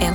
En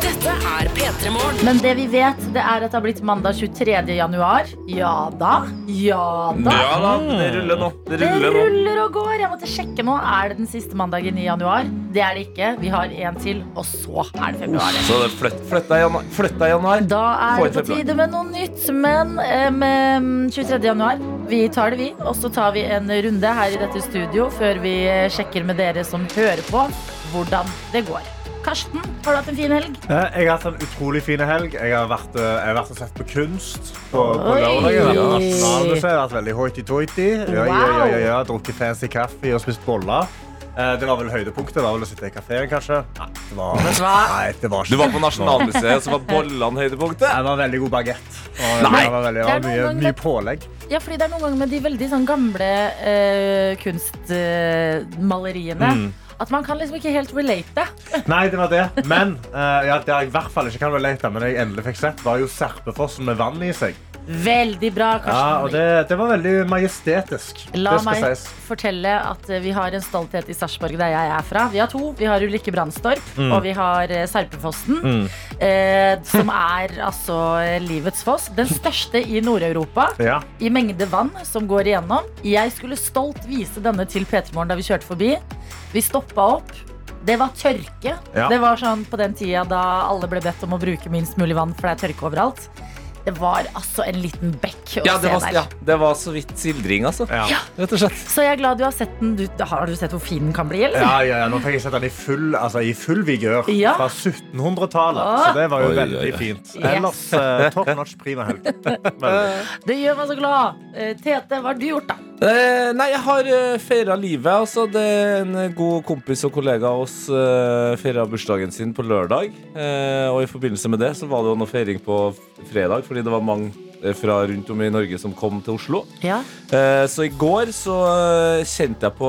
Dette er P3 Morgen. Men det vi vet, det er at det har blitt mandag 23. januar. Ja da. Ja da. Ja da, det ruller nå. Det Det ruller nå. ruller og går. Jeg måtte sjekke nå. Er det den siste mandagen i januar? Det er det ikke. Vi har en til, og så er det februar. Så det flytt, flytt deg, januar. Flytt deg, januar. Da er Får det på et februar. tide med noe nytt, men em, em, 23. januar. Vi tar det, vi. Og så tar vi en runde her i dette studio før vi eh, sjekker med dere som hører på, hvordan det går. Karsten, har du hatt en fin helg? Eh, Jeg har hatt en utrolig fin helg. Jeg har vært, eh, jeg har vært og sett på kunst på, på Oi. lørdag. Jeg har vært på Nasjonalmuseet, jeg har vært veldig hoity-toity. Ja, ja, ja, ja, ja. Drukket fancy kaffe og spist boller. Eh, Det var vel høydepunktet. Det var vel å sitte i kafeen, kanskje. Nei, det var, nei, det var Du ikke var på Nasjonalmuseet, så var bollene høydepunktet. Jeg var veldig god bagett. Og Nei. Det var, veldig, det Det var er mye, noen mye ganger- pålegg. Ja, fordi det er noen ganger med de veldig sånn gamle eh, kunstmaleriene Mm. at man kan liksom ikke helt relate. Nei, det var det. Men eh, ja, det jeg i hvert fall ikke kan relate, men jeg endelig fikk sett, var jo Serpefossen med vann i seg. Veldig bra, Ja, og Karsten. det, det var veldig majestetisk. La det meg skal sies. fortelle at eh, vi har en stolthet i Sarpsborg, der jeg er fra. Vi har to. Vi har Ulrikke Brandstorp, Mm. og vi har eh, Serpefossen. Mm. Eh, som er altså eh, livets foss. Den største i Nord-Europa. Ja. i mengde vann som går igjennom. Jeg skulle stolt vise denne til P3morgen da vi kjørte forbi. Vi stoppa opp. Det var tørke. Ja. Det var sånn på den tida da alle ble bedt om å bruke minst mulig vann, for det er tørke overalt. Det var altså en liten bekk å Ja, det se var, der. ja, det var så vidt sildring, altså. Ja. Rett og slett. Så jeg er glad du har sett den. Du, har du sett hvor fin den kan bli, eller? Ja, ja, ja. Nå fikk jeg sett den i full, altså, i full vigør Ja. fra 1700-tallet. Så det var jo Oi, oi, veldig oi. fint. Yes. Ellers eh, top notch prima helg. Veldig. Det gjør meg så glad. Eh, Tete, hva har du gjort, da? Eh, nei, jeg har uh, feira livet. Altså, det er en eh, god kompis og kollega av oss uh, feira bursdagen sin på lørdag. Eh, og i forbindelse med det så var det jo noe feiring på f- fredag, fordi det var mange eh, fra rundt om i Norge som kom til Oslo. Ja. Eh, Så i går så eh, kjente jeg på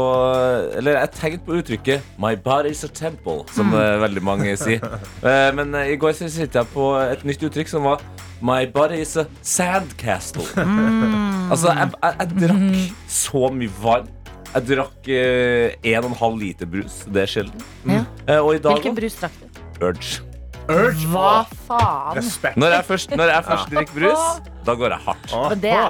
Eller jeg tenkte på uttrykket 'My body is a temple', som Mm. eh, veldig mange sier. Eh, Men eh, i går så kjente jeg på et nytt uttrykk som var 'My body is a sandcastle'. Mm. Altså, jeg, jeg, jeg drakk så mye vann. Jeg drakk eh, en og en halv liter brus. Det er sjelden. Ja. Eh, Og i dag Hvilken brus drakk du? Urge. Urge. Hva faen? Respekt. Når jeg først, når jeg først drikker brus, da går jeg hardt. Åh, Men det er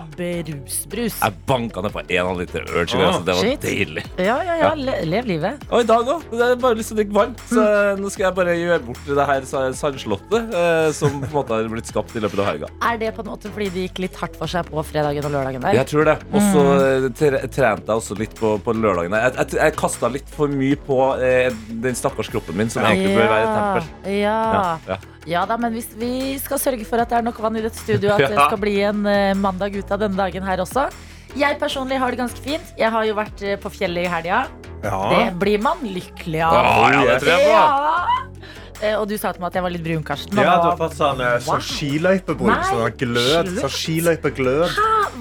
brusbrus. Jeg banka ned på en og en halv liter Urge. i går, Altså, det var Shit. deilig. Ja, ja, ja. Le lev livet. Og i dag òg. Det er bare lyst til å drikke vann. Så eh, nå skal jeg bare gjøre bort det her sa- sandslottet eh, som på en måte har blitt skapt i løpet av helga. Er det på en måte fordi det gikk litt hardt for seg på fredagen og lørdagen der? Jeg tror det. Og så Mm. eh, tre- trente jeg også litt på, på lørdagen. Jeg, jeg, jeg kasta litt for mye på eh, den stakkars kroppen min, som egentlig bør være et tempel. Ja. Ja, ja. ja da, men hvis vi skal sørge for at det er nok vann i dette studioet, at det Ja. skal bli en eh, mandag ut av denne dagen her også. Jeg personlig har det ganske fint. Jeg har jo vært eh, på fjellet i helga. Det Ja. blir man lykkelig Å, av. ja, det tror jeg på. Eh, Og du sa til meg at jeg var litt brun, Karsten. Ja, du har Hva, fått sånn, eh, Wow. sånn skiløypebrus. Nei, Sånn glød. Sånn skiløypeglød.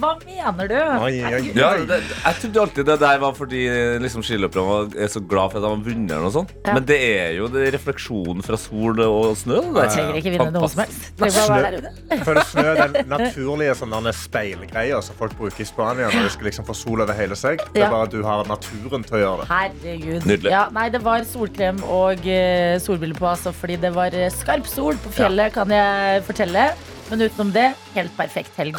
hva mener du? Oi, oi, oi. Ja, det, jeg trodde alltid det der var fordi eh, liksom, skiløperne var er så glad for at de har vunnet. eller noe sånt. Ja. Men det er jo det refleksjonen fra sol og snø. Det Jeg trenger ikke vinne noe som helst. Trenger bare være der ute. Jeg føler snø er den naturlige sånn der speilgreia som folk bruker i Spania når de skal liksom få sol over hele seg. Det Ja. er bare at du har naturen til å gjøre det. Herregud. Nydelig. Ja, nei, det var solkrem og eh, solbriller på, altså, fordi det var eh, skarp sol på fjellet, kan jeg fortelle. Men utenom det, helt perfekt helg.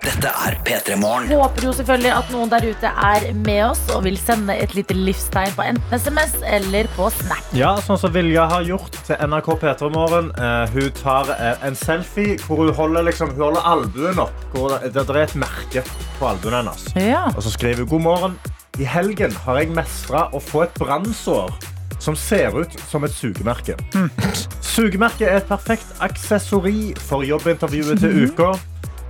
Dette er P3 Morgen. Håper jo selvfølgelig at noen der ute er med oss og vil sende et lite livstegn på enten SMS eller på Snap. Ja, sånn som Vilja har gjort til NRK P3 Morgen. Eh, hun tar eh, en selfie hvor hun holder, liksom, hun holder albuen opp. Hvor det, det er et merke på albuen hennes. Ja. Og så skriver hun god morgen. I helgen har jeg mestra å få et brannsår som ser ut som et sugemerke. Sugemerke er et perfekt Mhm. aksessori for jobbintervjuet til uka.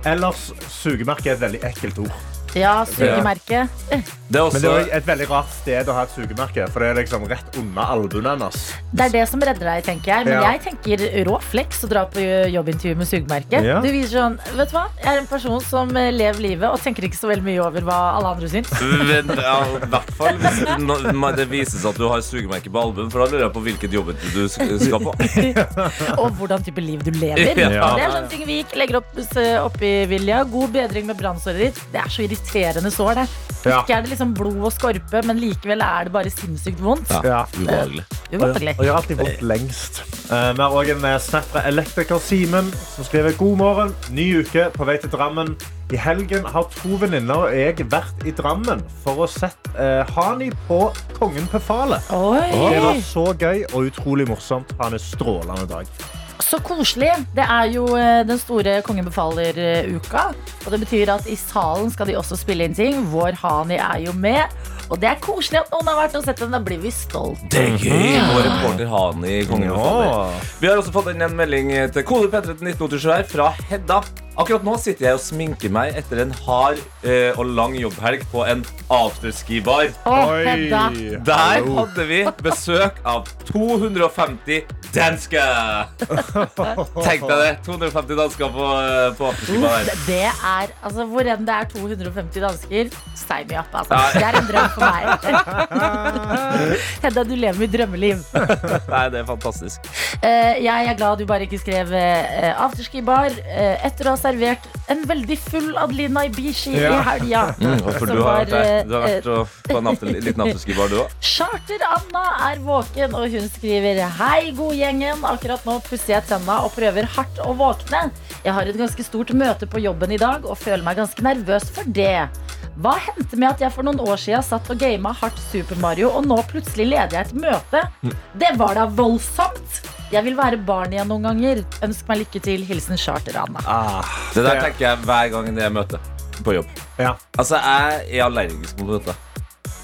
Ellers sugemerke er et veldig ekkelt ord. Ja, sugemerke. Det er også Men det er også et veldig rart sted å ha et sugemerke, for det er liksom rett under albuen hennes. Det er det som redder deg, tenker jeg. Men Ja. jeg tenker rå flex å dra på jobbintervju med sugemerke. Ja. Du viser sånn, vet du hva? Jeg er en person som eh, lever livet og tenker ikke så veldig mye over hva alle andre syns. Men, ja, I hvert fall hvis det, nå- men det vises at du har sugemerke på albuen, for da lurer jeg på hvilket jobb du sk- skal på. Og hvordan type liv du lever. Ja. Det er sånne ting vi ikke legger opp, s- opp i vilja. God bedring med brannsåret ditt. Det er så irriterende sår, det. Ja. Ikke er det liksom blod og skorpe, men likevel er det bare sinnssykt vondt. Ja. Ubehagelig. Ubehagelig. Og gjør alltid vondt lengst. Eh, Vi har òg en eh, snap fra elektriker Simen, som skriver god morgen, ny uke, på vei til Drammen. I helgen har to venninner og jeg vært i Drammen for å sette eh, Hani på Kongen befaler. Det var Oi! så gøy og utrolig morsomt. Ha en strålende dag. Så koselig. Det er jo eh, den store Kongen befaler-uka. Og det betyr at i salen skal de også spille inn ting. Vår Hani er jo med. Og det er koselig at noen har vært og sett den. Da blir vi stolt. Det er gøy! Vår reporter Hani i Kongen befaler. Vi har også fått inn en melding til kode P3 til 1987 her fra Hedda. Akkurat nå sitter jeg og sminker meg etter en hard eh, og lang jobbhelg på en afterski-bar. Å, Hedda. Der hadde vi besøk av 250 dansker! Tenk deg det. 250 dansker på, eh, på afterski-bar. Uff, Det er, altså Hvor enn det er 250 dansker, stei meg opp. Altså. Nei. Det er en drøm for meg. Hedda, du lever mitt drømmeliv. Nei, det er fantastisk. Eh, jeg er glad du bare ikke skrev eh, afterski-bar eh, etter å ha servert en veldig full Adelina Ibishi i Ja. helga. Mm, og for Som du har vært, var, der. du har eh, vært og, på en after, liten afterski-bar, du òg. Charter-Anna er våken, og hun skriver Hei, godgjengen. Akkurat nå pusser jeg tenna og prøver hardt å våkne. Jeg har et ganske stort møte på jobben i dag og føler meg ganske nervøs for det. Hva hendte med at jeg for noen år siden satt og gama hardt Super Mario, og nå plutselig leder jeg et møte? Det var da voldsomt! Jeg vil være barn igjen noen ganger. Ønsk meg lykke til. Hilsen Charter-Anna. Det der tenker jeg hver gang det er møte på jobb. Ja. Altså, jeg er allergisk mot møter.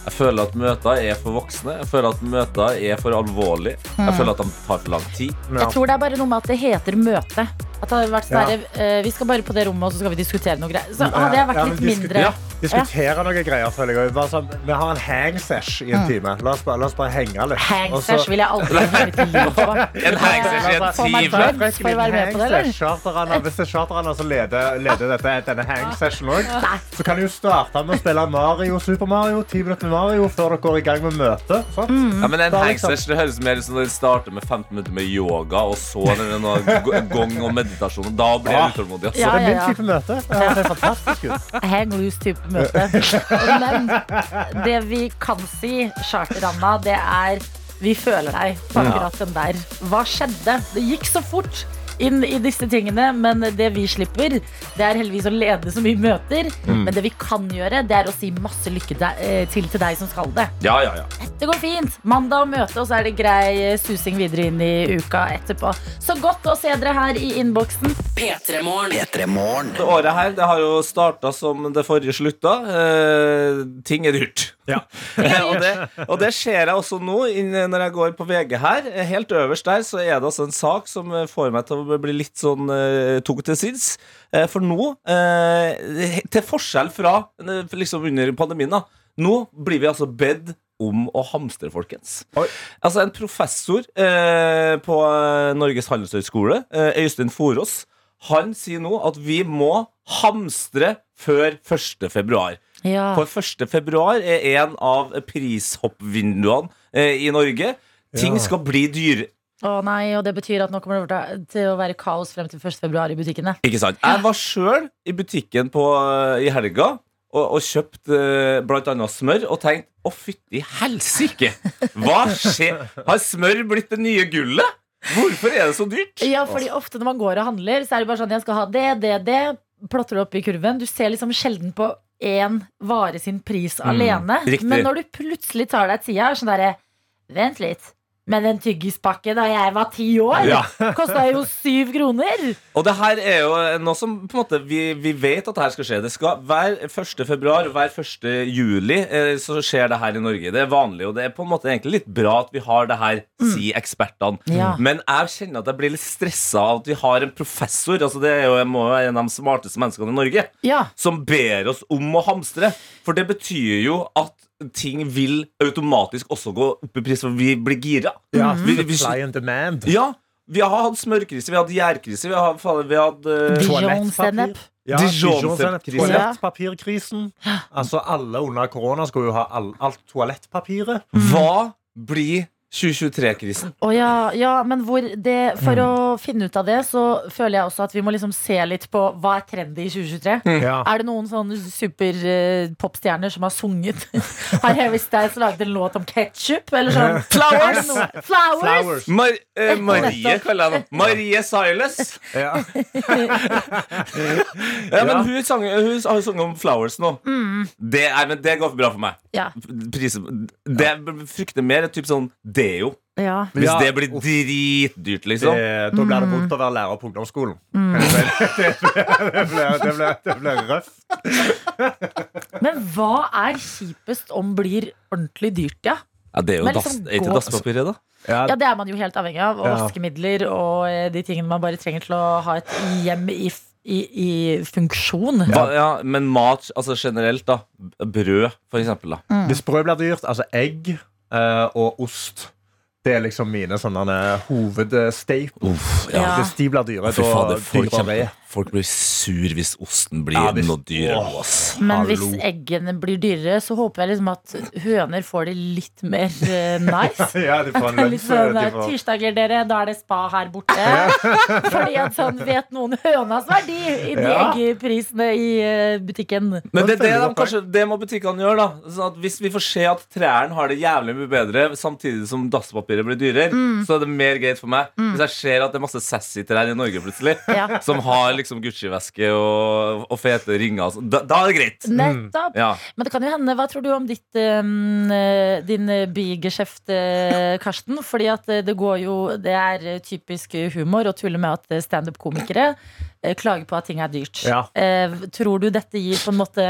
Jeg føler at møter er for voksne. Jeg føler at møter er for alvorlige. Jeg Mm. føler at de tar for lang tid. Ja. Jeg tror det er bare noe med at det heter møte. At det hadde vært sånn Ja. herre, eh, Vi skal bare på det rommet, og så skal vi diskutere noe greier. Så Ja, hadde jeg vært ja, men litt diskut- mindre ja, Diskutere noen greier. føler jeg. Bare sånn, vi har en hangsesh i Mm. en time. La oss bare, la oss bare henge litt. Og så- Hangsters vil jeg aldri ha mitt liv på. Altså, En hangsters i en Får man time. barn for å være med på det, eller? Charterene- Hvis det er charterene som leder, leder dette, denne hang-session også, Nei. så kan de jo starte med å spille Mario, Super Mario, 10 minutter med Mario, før dere går i gang med møtet. sant? Mm. Ja, men en Da liksom- hangsters det høres mer ut som når de starter med 15 minutter med yoga, og så er det noe g- gong og meditasjon. Da blir jeg Ah. utålmodig. Ja, Altså. Det er min ja, type møte. Ja, det er fantastisk ut. Hang loose-type møte. Men det vi kan si, Charter-Anna, det er vi føler deg på akkurat den der. Hva skjedde? Det gikk så fort inn i disse tingene, men det vi slipper, det er heldigvis å lede så mye møter. Men det vi kan gjøre, det er å si masse lykke de- eh, til til deg som skal det. Ja, ja, ja. Det går fint. Mandag og møte, og så er det grei eh, susing videre inn i uka etterpå. Så godt å se dere her i innboksen. P3morgen. P3 Morgen. Det året her det har jo starta som det forrige slutta. Eh, ting er dyrt. Eh, og, det, og det ser jeg også nå inn- når jeg går på VG her. Eh, Helt øverst der så er det altså en sak som eh, får meg til å bli litt sånn eh, tung til sinns. Eh, for nå, eh, til forskjell fra eh, liksom under pandemien, da, nå blir vi altså bedt om å hamstre, folkens. Oi. Altså En professor eh, på eh, Norges handelshøyskole, eh, Øystein Forås, han sier nå at vi må hamstre før 1. februar. Ja. For 1. februar er en av prishoppvinduene eh, i Norge. Ting Ja. skal bli dyre. Å nei, og det betyr at nå kommer det til å- til å være kaos frem til 1. februar i butikkene. Ikke sant? Jeg var sjøl i butikken på, eh, i helga og, og kjøpte eh, blant annet smør og tenkte å, fytti helsike! Hva skjer? Har smør blitt det nye gullet? Hvorfor er det så dyrt? Ja, fordi ofte når man går og handler, så er det bare sånn jeg skal ha det, det, det. Plotter det opp i kurven. Du ser liksom sjelden på én vare sin pris alene. riktig. Men når du plutselig tar deg tida, er sånn derre Vent litt. Men en tyggispakke da jeg var ti år, Ja. kosta jo syv kroner. Og det her er jo noe som på en måte Vi, vi vet at det her skal skje. Det skal Hver 1. februar, hver 1. juli eh, så skjer det her i Norge. Det er vanlig, og det er på en måte egentlig litt bra at vi har det her, sier ekspertene. Ja. Men jeg kjenner at jeg blir litt stressa av at vi har en professor, altså det er jo jeg må være en av de smarteste menneskene i Norge, Ja. som ber oss om å hamstre. For det betyr jo at ting vil automatisk også gå opp i pris, for vi blir gira. Ja, Mhm. Vi- vi- supply and demand. Ja, vi har hatt smørkrise, vi har hatt gjærkrise, vi har, faen, vi har hatt eh, Dijon-sennep. Ja, Dijon- Dijon-sennep. Ja. Toalettpapirkrisen. Altså, alle under korona skulle jo ha all, alt toalettpapiret. Hva blir 2023-krisen? Å ja, ja, men hvor det, for å finne ut av det, så føler jeg også at vi må liksom se litt på hva er trendy i 2023. Ja. Er det noen sånne superpopstjerner som har sunget? Har Harry Styles laget en låt om ketsjup? Eller sånn? Flowers! Noen, flowers! Flowers. Mar eh, Marie Nettopp. kaller jeg henne. Marie Silas. Ja. Ja, men hun, sang, hun har jo sunget om Flowers nå. Det, er, men det går bra for meg. Ja. Prisen, det jeg frykter mer, er typ sånn deo. ja. Hvis Ja, det blir dritdyrt, liksom. Eh, Da Mm. blir det vondt å være lærer på ungdomsskolen. Kan jeg si Det Det blir- det blir- det blir røft. Men hva er kjipest om blir ordentlig dyrt, ja? Ja, det er jo Men dass, liksom er ikke gå- dasspapiret, da? Ja, Ja, Det er man jo helt avhengig av. Og Ja. vaskemidler og eh, de tingene man bare trenger til å ha et hjem i, f- i, i funksjon. Hva, ja, men mat altså generelt, da. Brød, for eksempel. Da. Hvis brød blir dyrt, altså egg eh, og ost Det er liksom mine sånne hovedstaples. Uff, ja. Ja. Hvis de blir dyre, Fy da fader, folk, dyrer kjemper- jeg. folk blir sur hvis osten blir Ja, hvis- noe dyrere. Åh. ass. Men Hallo. hvis eggene blir dyrere, så håper jeg liksom at høner får det litt mer eh, nice. Ja, de får en Litt lønns... sånn de eh, får- tirsdager, dere, da er det spa her borte. Fordi at sånn vet noen hønas verdi i de Ja. Mm. eggeprisene i eh, butikken. Men det, er det, følger de, opp her. kanskje, det må butikkene gjøre, da. Sånn at hvis vi får se at trærne har det jævlig mye bedre, samtidig som dasspapiret blir dyrere, Mm. så er det mer greit for meg. Hvis jeg ser at det er masse sassy trær i Norge plutselig, Ja. som har liksom Gucci-veske og, og fete ringer, og sånn, da, da er det greit. Nettopp. Ja. Men det kan jo hende, hva tror du om ditt, eh, din eh, bigeskjeft, eh, Karsten? Fordi at eh, det går jo, det er eh, typisk humor å tulle med at eh, standup-komikere eh, klager på at ting er dyrt. Ja. Eh, tror du dette gir på en måte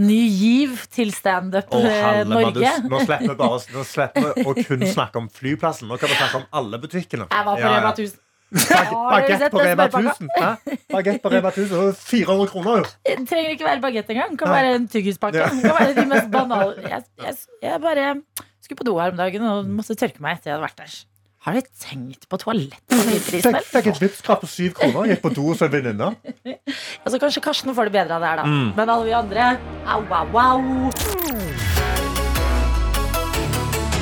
ny giv til standup Å, eh, helle, Norge? Madus. Nå slipper vi bare Nå slipper vi å kun snakke om flyplassen. Nå kan vi snakke om alle butikkene. Jeg var på Ja, ja. Rema 1000. Bag- Har dere Bagett sett på den Rema smørpakka? 1000. Hæ? Bagett på Rema 1000. det var 400 kroner, jo. Det Eh, trenger ikke være bagett engang. Det Kan Nei. være en tyggispakke. Ja. Det Kan være de mest banale jeg, jeg, jeg bare skulle på do her om dagen og måtte tørke meg etter jeg hadde vært der. Har dere tenkt på toalettpapirprisen? Fikk, vel? fikk et vippskrapp på 7 kroner. Gikk på do hos en venninne. Altså, kanskje Karsten får det bedre av det her, da. Mm. Men alle vi andre au, au, au.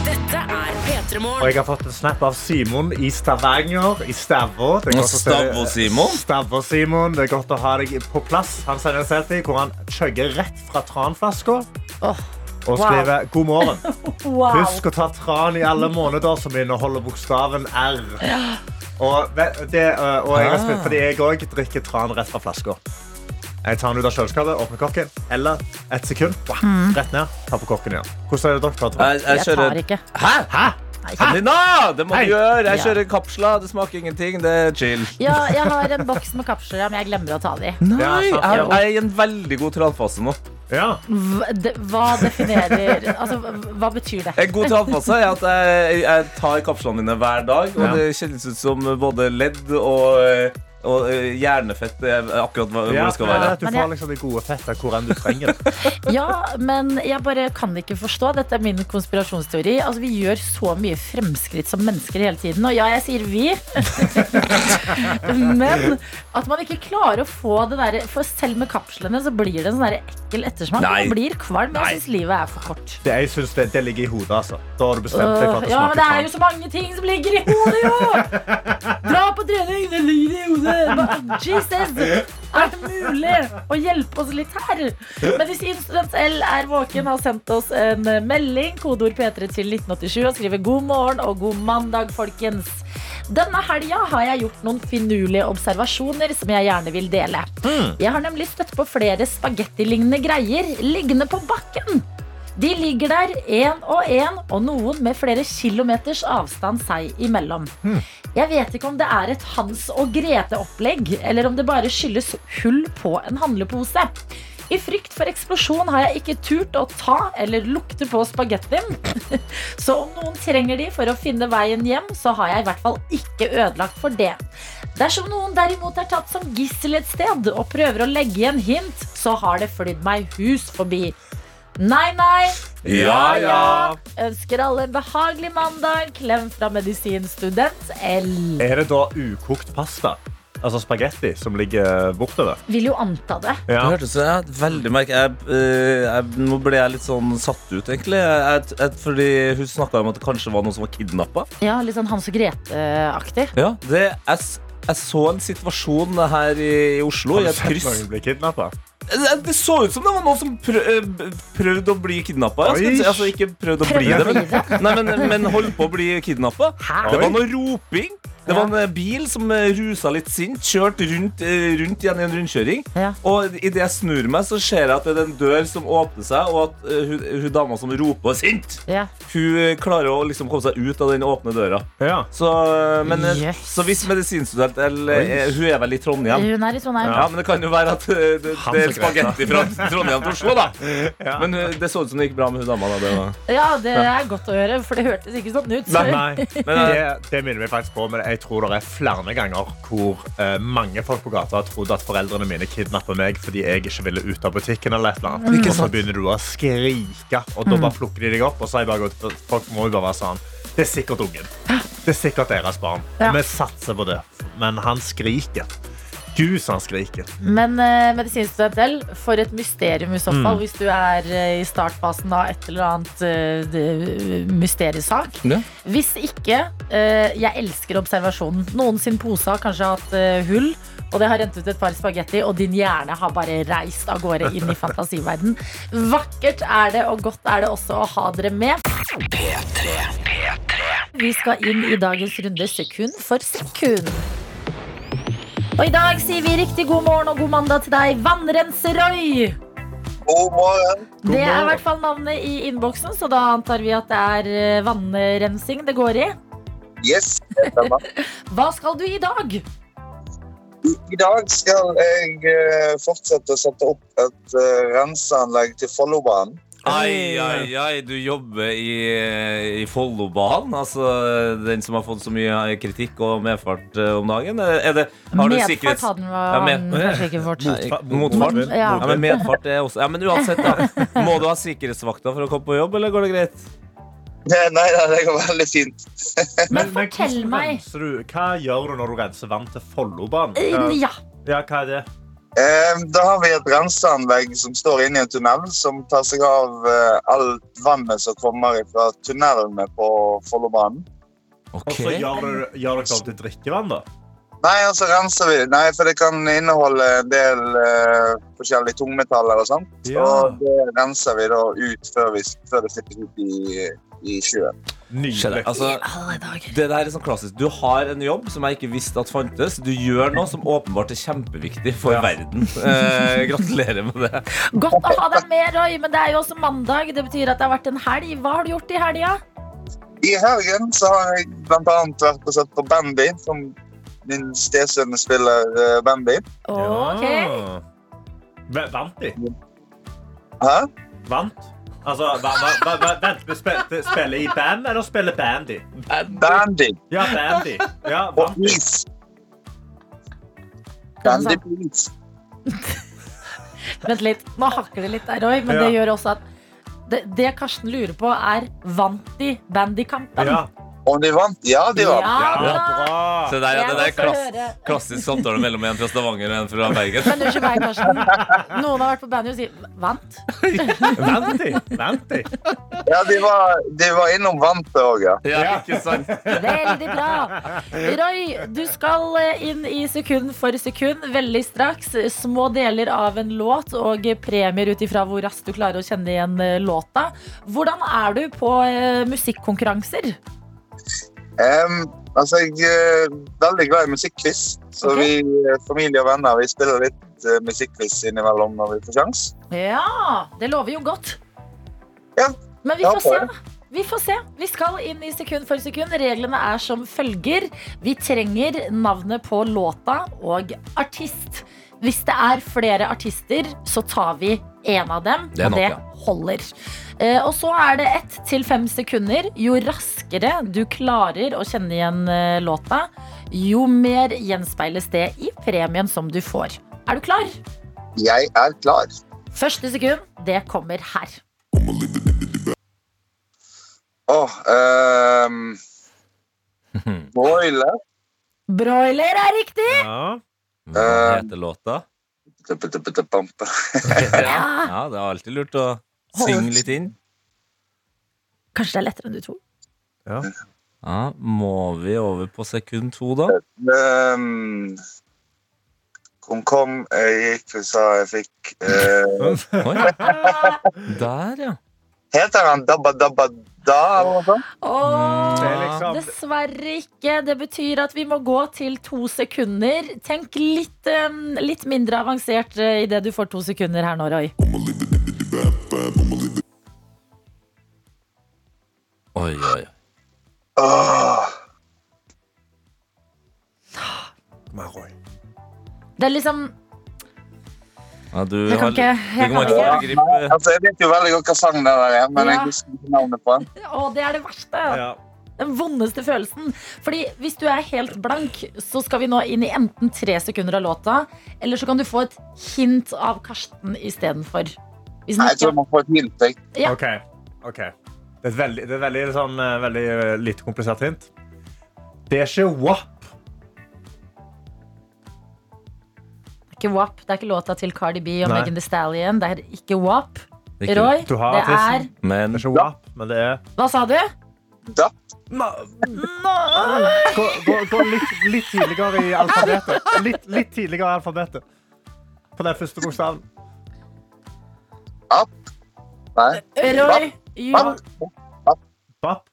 Dette er P3 Og Morgen. jeg har fått en snap av Simon i Stavanger. I Stavå. Det er godt å se- Stavå-Simon? Stavå-Simon. Det er godt å ha deg på plass. Han sender en selfie hvor han chugger rett fra tranflaska. Åh, Og wow. skriver 'God morgen'. wow. Husk å ta tran i alle måneder som inneholder bokstaven R. Og, ve- det, øh, og jeg har spilt fordi jeg òg drikker tran rett fra flaska. Jeg tar den ut av kjøleskapet, åpner korken, eller et sekund. wah, Mm. Rett ned, tar på korken igjen. Hvordan er det dere tar tran? Jeg, jeg Jeg tar kjører ikke. Hæ? Hæ? Adelina! Det må Hei. du gjøre. Jeg Ja. kjører kapsler. Det smaker ingenting. Det er chill. Ja, jeg har en boks med kapsler, ja, men jeg glemmer å ta de. Nei, sant. jeg, jeg er i en veldig god tranfase nå. Ja. Hva- det- Hva definerer Altså, hva betyr det? En god tranfase er at jeg, jeg tar kapslene mine hver dag, og Ja. det kjennes ut som både ledd og, eh, og hjernefett er akkurat hva- hvor det skal være. Du Men jeg- får liksom de gode fetta hvor enn du trenger det. Ja, men jeg bare kan ikke forstå. Dette er min konspirasjonsteori. Altså, Vi gjør så mye fremskritt som mennesker hele tiden. Og ja, jeg sier vi. men at man ikke klarer å få det derre For selv med kapslene så blir det en sånn der ekkel ettersmak. Nei. Man blir kvalm. Nei. Jeg syns livet er for kort. Det, jeg synes det, det ligger i hodet, altså. Da har du bestemt deg for at Øh, ja, men det det smaker er tran. jo så mange ting som ligger i hodet, jo! Dra på trening, det ligger i hodet. Hva- Jesus! Er det mulig å hjelpe oss litt her? Medisinstudent L er våken, har sendt oss en melding, kodeord P3 til 1987, og skriver god morgen og god mandag, folkens. Denne helga har jeg gjort noen finurlige observasjoner som jeg gjerne vil dele. Hmm. Jeg har nemlig støtt på flere spagettilignende greier liggende på bakken. De ligger der én og én, og noen med flere kilometers avstand seg imellom. Jeg vet ikke om det er et Hans og Grete-opplegg, eller om det bare skyldes hull på en handlepose. I frykt for eksplosjon har jeg ikke turt å ta eller lukte på spagettien. Så om noen trenger de for å finne veien hjem, så har jeg i hvert fall ikke ødelagt for det. Dersom noen derimot er tatt som gissel et sted og prøver å legge igjen hint, så har det flydd meg hus forbi. Nei, nei. Ja, ja. Ønsker alle en behagelig mandag. Klem fra medisinstudent L. Er det da ukokt pasta? Altså spagetti som ligger bortover? Vil jo anta det. Ja. Det hørtes ja, veldig merke jeg, eh, jeg, Nå ble jeg litt sånn satt ut, egentlig. Jeg, jeg, jeg, fordi hun snakka om at det kanskje var noen som var kidnappa. Ja, Litt sånn Hans og Grete-aktig. Ja, det, jeg, s- jeg så en situasjon her i, i Oslo, i Har du et sett kryss. noen bli kidnappa? Det Eh, det så ut som det var noen som prø eh, prøvde å bli kidnappa. Jeg skal ikke si- Altså, ikke prøvde å bli Prøvde å det, bli men, nei, men, men holdt på å bli kidnappa. Hæ? Det var Oi. noe roping. Det var en eh, bil som eh, rusa litt sint, kjørte rundt, eh, rundt igjen i en rundkjøring. Ja. Og idet jeg snur meg, så ser jeg at det er en dør som åpner seg, og at eh, hun, hun dama som roper sint, Ja. hun eh, klarer å liksom komme seg ut av den åpne døra. Ja. Så, eh, men, eh, Yes. så hvis medisinstudent eller, Oi. eh, Hun er vel i Trondheim? Hun er i Trondheim. Ja, men det kan jo være at eh, det, Han det er som greit, spagetti fra Trondheim til Oslo, da. Ja. Men eh, det så ut som det gikk bra med hun dama. Da. Det var. Ja, det er godt å høre, for det hørtes ikke sånn ut. Nei, Men, det, det minner meg faktisk på, men jeg tror det er flere ganger hvor eh, mange folk på gata har trodd at foreldrene mine kidnapper meg fordi jeg ikke ville ut av butikken. eller et eller annet. Og så begynner du å skrike, og Mm. da bare plukker de deg opp. Og så har jeg bare gått, folk må jo bare være sånn Det er sikkert ungen. Det er sikkert deres barn. Ja. Vi satser på det. Men han skriker. Gud, så han skriker. Men eh, medisinstudent L, for et mysterium i så fall, hvis du er eh, i startfasen av et eller annet eh, det- mysteriesak. Ja. Hvis ikke eh, Jeg elsker observasjonen. Noen sin pose har kanskje hatt eh, hull, og det har rent ut et par spagetti, og din hjerne har bare reist av gårde inn i fantasiverden. Vakkert er det, og godt er det også å ha dere med. Vi skal inn i dagens runde sekund for sekund. Og i dag sier vi riktig god morgen og god mandag til deg, Vannrenserøy. God morgen. Det er i morgen. hvert fall navnet i innboksen, så da antar vi at det er eh, vannrensing det går i. Yes. det stemmer. Hva skal du i dag? I- I dag skal jeg eh, fortsette å sette opp et eh, renseanlegg til Follobanen. Ai, ai, ai, du jobber i, i Follobanen, altså den som har fått så mye eh, kritikk og medfart eh, om dagen. Er det, har du Medfart sikkerhets... hadde den Ja, var med- han kanskje ikke fort. Nei, Motfart? Motvind. Ja. Ja, men medfart er også Ja, men uansett, da. Må du ha sikkerhetsvakter for å komme på jobb, eller går det greit? Nei, nei, nei, det går veldig fint. Men fortell hvordan meg. renser du? Hva gjør du når du renser vann til Follobanen? Ja, Ja, hva er det? Eh, Da har vi et renseanlegg som står inne i en tunnel, som tar seg av eh, alt vannet som kommer fra tunnelene på Follobanen. Og så gjør du gjør dere om til drikkevann, da? Nei, og så renser vi. Nei, for det kan inneholde en del eh, forskjellige tungmetaller og sånt. Ja. Og det renser vi da ut før, vi, før det flyttes ut i, i sjøen. Nydelig. Skjønner. Altså, alle dager. Det der er sånn klassisk Du har en jobb som jeg ikke visste at fantes. Du gjør noe som åpenbart er kjempeviktig for Ja. verden. Eh, gratulerer med det. Godt å ha deg med, Roy, men det er jo også mandag. Det betyr at det har vært en helg. Hva har du gjort i helga? I helgen så har jeg blant annet vært og sett på Bambi, som min stesønn spiller eh, Bambi. Ok. Ja. V- Vant de? Hæ? Vant? Altså, va, va, va, va, vent, vi spiller, spiller i band, eller spiller bandy? Bandy Ja, bandy. Ja, og vant de. is. Den Bandy sa- på is. Vent litt. Nå hakker det litt der, Roy, men det Ja. gjør også at det, det Karsten lurer på, er vant de bandykampen? Ja, Om de vant? Ja, de vant. ja Ja da. bra. Så der, ja, Jeg det der er må få høre. klass, klassisk samtale mellom en fra Stavanger og en fra Bergen. Men unnskyld meg, Karsten. Noen har vært på bandy og sier 'vant'. Vant de? Vant de? Ja, de var, de var innom vantet òg, ja. Ja, ikke sant? Veldig bra. Roy, du skal eh, inn i sekund for sekund veldig straks. Små deler av en låt og premier ut ifra hvor raskt du klarer å kjenne igjen eh, låta. Hvordan er du på eh, musikkonkurranser? Em, altså, jeg er veldig glad i musikkquiz, så Ok. vi eh, familie og venner vi spiller litt eh, musikkquiz innimellom når vi får sjans. Ja, det lover jo godt. Ja. Men vi Ja, får se. bare. Vi får se. Vi skal inn i sekund for sekund. Reglene er som følger. Vi trenger navnet på låta og artist. Hvis det er flere artister, så tar vi én av dem. Det er og nok, det ja. holder. Eh, Og så er det ett til fem sekunder. Jo raskere du klarer å kjenne igjen eh, låta, jo mer gjenspeiles det i premien som du får. Er du klar? Jeg er klar. Første sekund, det kommer her. Åh, ehm... Boiler. Broiler er riktig! Ja. Hva Eh. heter låta? Tuppetuppetuppampe. Ja. ja, det er alltid lurt å synge litt inn. Kanskje det er lettere enn du tror. Ja. Ja, må vi over på sekund to, da? Ehm, Hun kom, jeg gikk, hun sa jeg fikk eh, Oi. Der, ja. Heter han Dabba Dabba Da, eller noe sånt? Åh, Det er liksom- dessverre ikke. Det betyr at vi må gå til to sekunder. Tenk litt, eh, litt mindre avansert eh, i det du får to sekunder her nå, Roy. Oi, oi. Åh, Kom her, Roy. Det er liksom Ja, du Jeg kan har- ikke. Du Jeg kan kan ikke ikke. foregripe Altså, jeg vet jo veldig godt hva sangen der er, men Ja. jeg husker ikke navnet på den. Å, det er det verste. Ja. Den vondeste følelsen. Fordi hvis du er helt blank, så skal vi nå inn i enten tre sekunder av låta, eller så kan du få et hint av Karsten istedenfor. Hvis den Nei, Jeg ikke tror jeg må få et hint. jeg. Ja. OK. ok. Det er et veldig, det er et veldig, sånn, eh, veldig eh, lite komplisert hint. Det er ikke WAP. Det er ikke WAP. Det er ikke låta til Cardi B og Nei. Megan Thee Stallion. Det er ikke WAP. Det er ikke- Roy, Du har det er artisten. Men Det er ikke WAP, men det er Hva sa du? Da. Gå, gå, gå litt, litt tidligere i alfabetet. Litt, litt tidligere i alfabetet. På den første bokstaven. App. Nei. Roy, jo, App. WAP.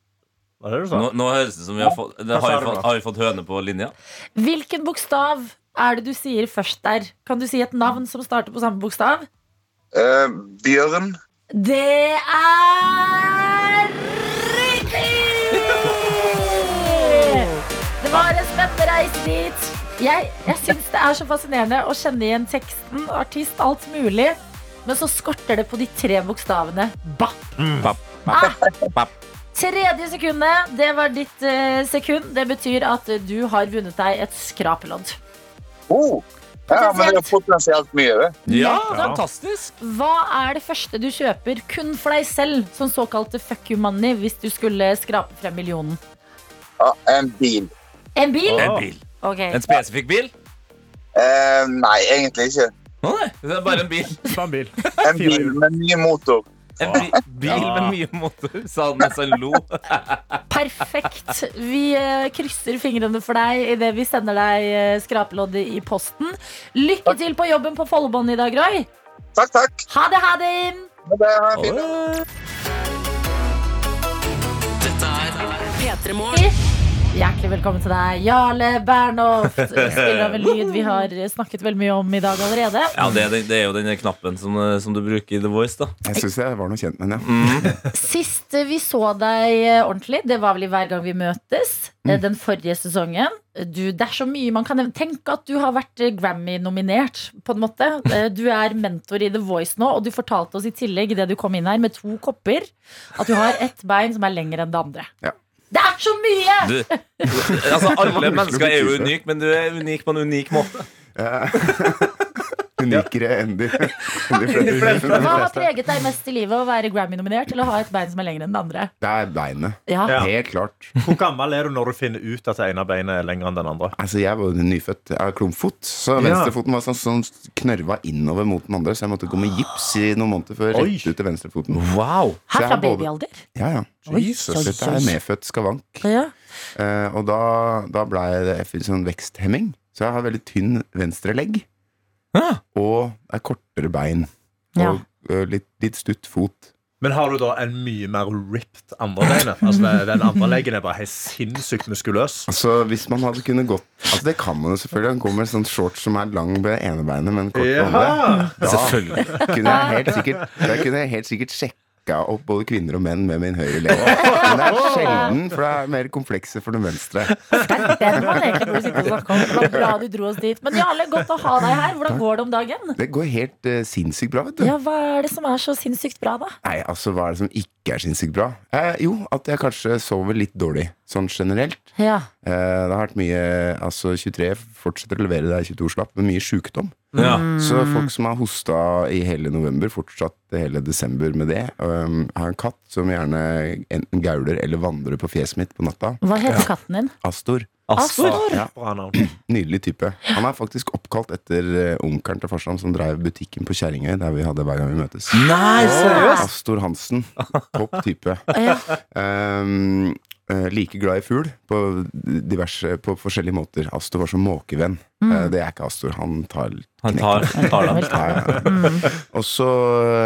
Hva er det du sa? nå, nå høres det som vi har fått, det har, sa vi du fått, da? har vi fått høne på linja. hvilken bokstav er det du sier først der? Kan du si et navn som starter på samme bokstav? Eh, Bjørn. Det er riktig! Det var en spennende reise dit. Jeg, jeg syns det er så fascinerende å kjenne igjen teksten, artist, alt mulig. Men så skorter det på de tre bokstavene BAP. Papp, Ah! papp. Tredje sekundet, det var ditt eh, sekund. Det betyr at du har vunnet deg et skrapelodd. Oh. Ja, men det er potensielt mye, det. Ja, Ja. fantastisk! Hva er det første du kjøper kun for deg selv, som såkalte fuck you money, hvis du skulle skrape frem millionen? Ja, en bil. En bil? En bil. Ok. En spesifikk bil? Eh, nei, egentlig ikke. Å, nei, det er bare en bil. Ta en bil. En bil med ny motor. En bi bil med Ja. mye motor, sa han mens han lo. Perfekt. Vi eh, krysser fingrene for deg idet vi sender deg eh, skrapeloddet i posten. Lykke til på jobben på Follobånd i dag, Roy. Takk, takk. Ha det, ha det! Ha det, ha en fin dag. P3morgen. Hjertelig velkommen til deg, Jarle Bernhoft. Spiller av en lyd vi har eh, snakket veldig mye om i dag allerede. Ja, det, er den- det er jo den knappen som, eh, som du bruker i The Voice, da. Jeg syns jeg var noe kjent med Mm. henne. Sist vi så deg eh, ordentlig, det var vel i Hver gang vi møtes, eh, Mm. den forrige sesongen. Du, det er så mye man kan nevne. Tenk at du har vært eh, Grammy-nominert, på en måte. Eh, Du er mentor i The Voice nå, og du fortalte oss i tillegg det du kom inn her med to kopper, at du har ett bein som er lengre enn det andre. Ja. Det er så mye! Du, altså, alle Det var mennesker er jo vanskelig å unike, men du er unik på en unik måte. Unikere enn de, enn de fleste. Hva har preget deg mest i livet? Å være Grammy-nominert eller å ha et bein som er lengre enn det andre? Det er beinet. Ja. Ja. Helt klart. Hvor gammel er du når du finner ut at det ene beinet er lengre enn den andre? Altså, jeg var nyfødt. Jeg har klumpfot. Så Ja. venstrefoten var sånn, sånn knørva innover mot den andre, så jeg måtte gå med gips i noen måneder før Oi. rett ut til venstrefoten. Wow! Så Her jeg fra har både- babyalder? Ja, ja. Oi, oi, Jesus, dette oi. er medfødt skavank. Ja. Eh, og da, da ble det jeg fikk sånn veksthemming. Så jeg har veldig tynn venstre legg. Ah. Og det er kortere bein. Ja. Og eh, litt, litt stutt fot. Men har du da en mye mer ripped andre beinet? Altså, det- den andre leggen er bare helt sinnssykt muskuløs. Altså, hvis man hadde kunnet gått Altså, det kan man jo selvfølgelig. Han kommer med sånn shorts som er lang ved ene beinet, men kort ved andre. Ja. Da Selvfølgelig. kunne jeg helt sikkert, da kunne jeg helt sikkert sjekka fucka opp både kvinner og menn med min høyre lever. Men det er sjelden, for det er mer komplekse for den venstre. Den var det ikke noe å sitte og snakke om. Det var bra du dro oss dit. Men Jarle, godt å ha deg her. Hvordan går det om dagen? Det går helt eh, sinnssykt bra, vet du. Ja, Hva er det som er så sinnssykt bra, da? Nei, altså, hva er det som ikke er sinnssykt bra? Eh, jo, at jeg kanskje sover litt dårlig, sånn generelt. Ja, Eh, det har vært mye Altså, 23 fortsetter å levere deg 22-slapp, men mye sjukdom. Ja. Så folk som har hosta i hele november, fortsatt hele desember med det. Um, har en katt som gjerne enten gauler eller vandrer på fjeset mitt på natta. Hva heter katten din? Astor. Astor! Ja, Bra navn. Nydelig type. Han er faktisk oppkalt etter eh, onkelen til farsan som drev butikken på Kjerringøy, der vi hadde hver gang vi møtes. Nei, seriøst? Astor Hansen. Topp type. Ja. Um, eh, like glad i fugl på, diverse, på forskjellige måter. Astor var som måkevenn. Eh, det er ikke Astor. Han tar Han tar, tar den. Ja, ja. Mm. Og så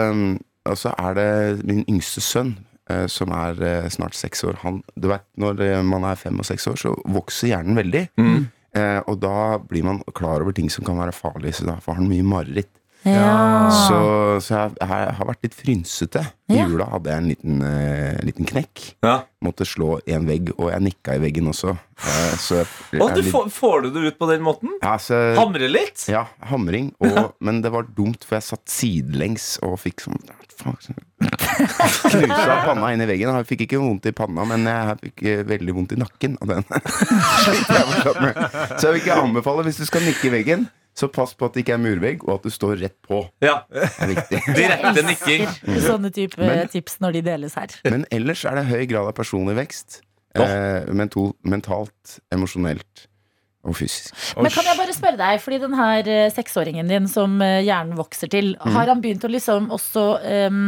um, og så er det min yngste sønn, eh, som er eh, snart seks år. Han, du vet, når eh, man er fem og seks år, så vokser hjernen veldig. Mm. Eh, og da blir man klar over ting som kan være farlige, så da får han mye mareritt. Ah. Så, ja. så jeg, jeg har vært litt frynsete. I Ja. jula hadde jeg en liten, eh, liten knekk. Ja. Måtte slå en vegg, og jeg nikka i veggen også. Eh, så jeg, Og du jeg- får, får du det ut på den måten? ja, så- Hamre litt? ja, hamring. Og, men det var dumt, for jeg satt sidelengs og fikk sånn faen, sånn. Knusa panna inn i veggen. Jeg fikk ikke vondt i panna, men jeg fikk eh, veldig vondt i nakken av den. Sliter jeg fortsatt med. så jeg vil ikke anbefale, hvis du skal nikke i veggen, så pass på at det ikke er murvegg, og at du står rett på. Ja. Det er viktig. Direkte nikking. Sånne type Men- tips når de deles her. Men ellers er det høy grad av personlig vekst. Ja. Eh, mental, mentalt, emosjonelt og fysisk. Men kan jeg bare spørre deg, fordi den her eh, seksåringen din som eh, hjernen vokser til, Mhm. har han begynt å liksom også em,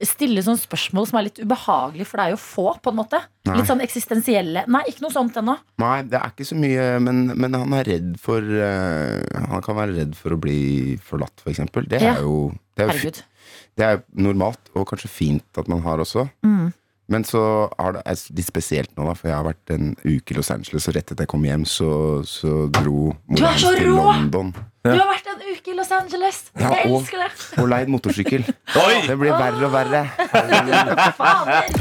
stille sånne spørsmål som er litt ubehagelige for deg å få, på en måte? Nei. Litt sånn eksistensielle. Nei, ikke noe sånt ennå. Nei, det er ikke så mye, men, men han er redd for eh, Han kan være redd for å bli forlatt, f.eks. For det, Ja. er jo, det, er jo, Herregud. fi- det er jo normalt, og kanskje fint at man har også. Mm. Men så er det er litt spesielt nå, da, for jeg har vært en uke i Los Angeles, og rett etter jeg kom hjem, så, så dro Du er hans så til rå! London Du har vært en uke i Los Angeles! Ja, jeg og- elsker det! og leid motorsykkel. Oi! Det blir verre og verre. Fader!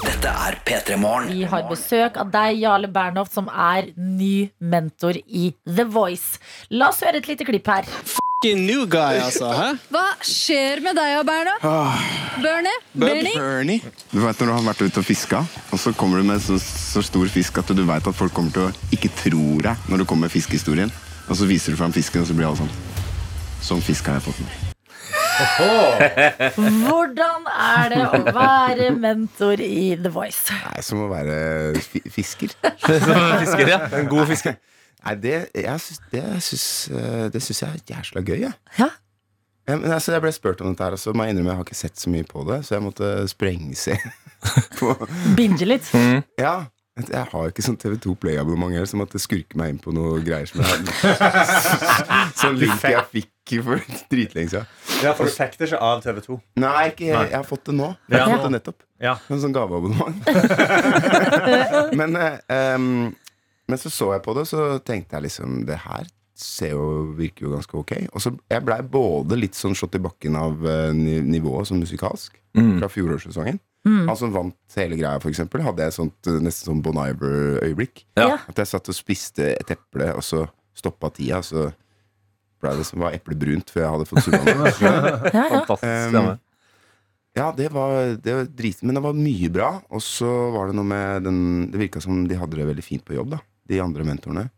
Dette er P3 Morgen. Vi har besøk av deg, Jarle Bernhoft, som er ny mentor i The Voice. La oss høre et lite klipp her. fucking new guy, altså. Hæ? Hva skjer med deg og Berna? Bernie? Bernie? Bernie. Du vet når du har vært ute og fiska, og så kommer du med så, så stor fisk at du vet at folk kommer til å ikke tro deg når du kommer med fiskehistorien. Og så viser du fram fisken, og så blir alle sånn. Sånn fisk har jeg fått med. Hvordan er det å være mentor i The Voice? Nei, Som å være fi- fisker. Fisker, ja. En god fisker. Nei, det jeg syns, det, syns, eh, det syns jeg er jævla gøy, jeg. Ja. Ja, men altså, jeg ble spurt om dette her, og så må jeg innrømme jeg har ikke sett så mye på det, så jeg måtte sprengse på Binge litt. Ja. Jeg har jo ikke sånn TV2 Play-abonnement her, som at det skurker meg inn på noe greier som jeg Sånn link jeg fikk for dritlenge siden. Ja, for du fikk det ikke av TV 2. Nei, ikke, jeg har fått det nå. Jeg har Ja. fått det nettopp. Ja. En sånn gaveabonnement. men, eh, em, men så så jeg på det, og så tenkte jeg liksom Det her ser jo, virker jo ganske ok. Og så jeg blei både litt sånn slått i bakken av eh, ni- nivået som musikalsk fra fjorårssesongen. Han som vant hele greia, for eksempel, hadde jeg sånt, eh, nesten sånn Bon Iver-øyeblikk. Ja. At jeg satt og spiste et eple, og så stoppa tida, så blei det som var eplet brunt før jeg hadde fått surra det. Ja, ja. Fantastisk Um, stemme. Ja, det var, det var drit, men det var mye bra. Og så var det noe med den Det virka som de hadde det veldig fint på jobb, da. De andre mentorene.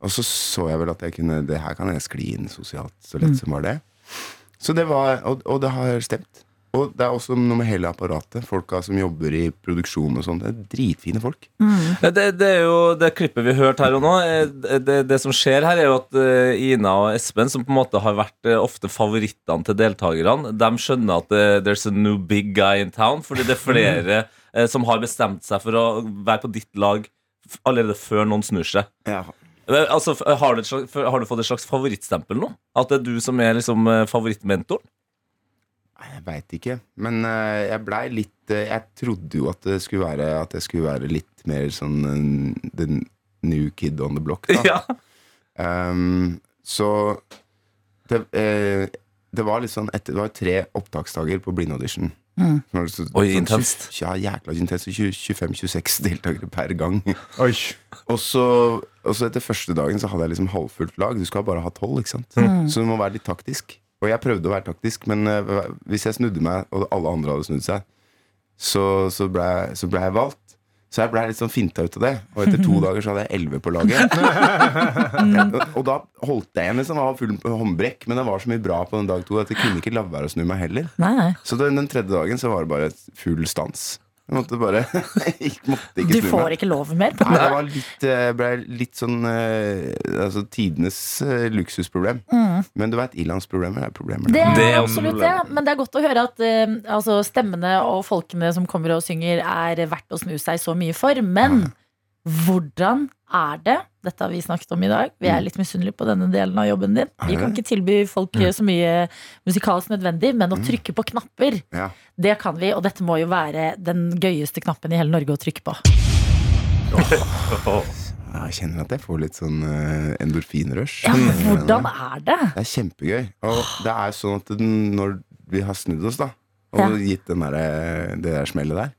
Og så så jeg vel at jeg kunne Det her kan jeg skli inn sosialt, så lett som var det. Så det var Og, og det har stemt. Og det er også noe med hele apparatet. Folka som jobber i produksjon og sånn. Det er dritfine folk. Ja, Det, det er jo det klippet vi hørte her og nå. eh, Det, det som skjer her, er jo at eh, Ina og Espen, som på en måte har vært eh, ofte favorittene til deltakerne, de skjønner at eh, there's a new big guy in town, fordi det er flere eh, som har bestemt seg for å være på ditt lag f- allerede før noen snur seg. Eh, Altså, f- har, du et slags, f- har du fått et slags favorittstempel nå? At det er du som er liksom eh, favorittmentoren? Nei, Jeg veit ikke. Men eh, jeg blei litt eh, Jeg trodde jo at det skulle være At jeg skulle være litt mer sånn eh, the new kid on the block. Da. Ja. Ehm, så det, eh, det var litt sånn etter, Det var tre opptaksdager på blindaudition. Så var det så- Oi, sånn intenst. tjue- Ja, jækla intenst. 25-26 deltakere per gang. Oi. Og så, og så etter første dagen så hadde jeg liksom halvfullt lag. Du skal bare ha tolv, ikke sant? Mm. Så du må være litt taktisk. Og jeg prøvde å være taktisk, men eh, hva- hvis jeg snudde meg, og alle andre hadde snudd seg, så, så blei jeg, så ble jeg valgt. Så jeg blei litt sånn finta ut av det. Og etter to dager så hadde jeg elleve på laget. Mm. og da holdt jeg igjen, liksom. Jeg var full på håndbrekk. Men det var så mye bra på den dag to at jeg kunne ikke la være å snu meg heller. Nei, nei. Så den, den tredje dagen så var det bare full stans. Jeg måtte bare jeg måtte ikke Du snu meg. får ikke lov mer. På Nei, det var litt, eh, ble litt sånn eh, altså, Tidenes eh, luksusproblem. Men du veit, ilandsproblemer er problemer. Mm. Det er, Det er absolutt det, problemet. men det er godt å høre at eh, altså, stemmene og folkene som kommer og synger, er verdt å snu seg så mye for. Men hvordan er det? Dette har vi snakket om i dag. Vi er litt misunnelige på denne delen av jobben din. Vi kan ikke tilby folk eh, så mye musikalsk nødvendig, men å trykke på knapper, Ja. det kan vi. Og dette må jo være den gøyeste knappen i hele Norge å trykke på. Jeg kjenner at jeg får litt sånn eh, endorfinrush. Ja, men Mm. hvordan er det? Det er kjempegøy. Og det er sånn at den, når vi har snudd oss, da, og Ja. gitt den der, det der smellet der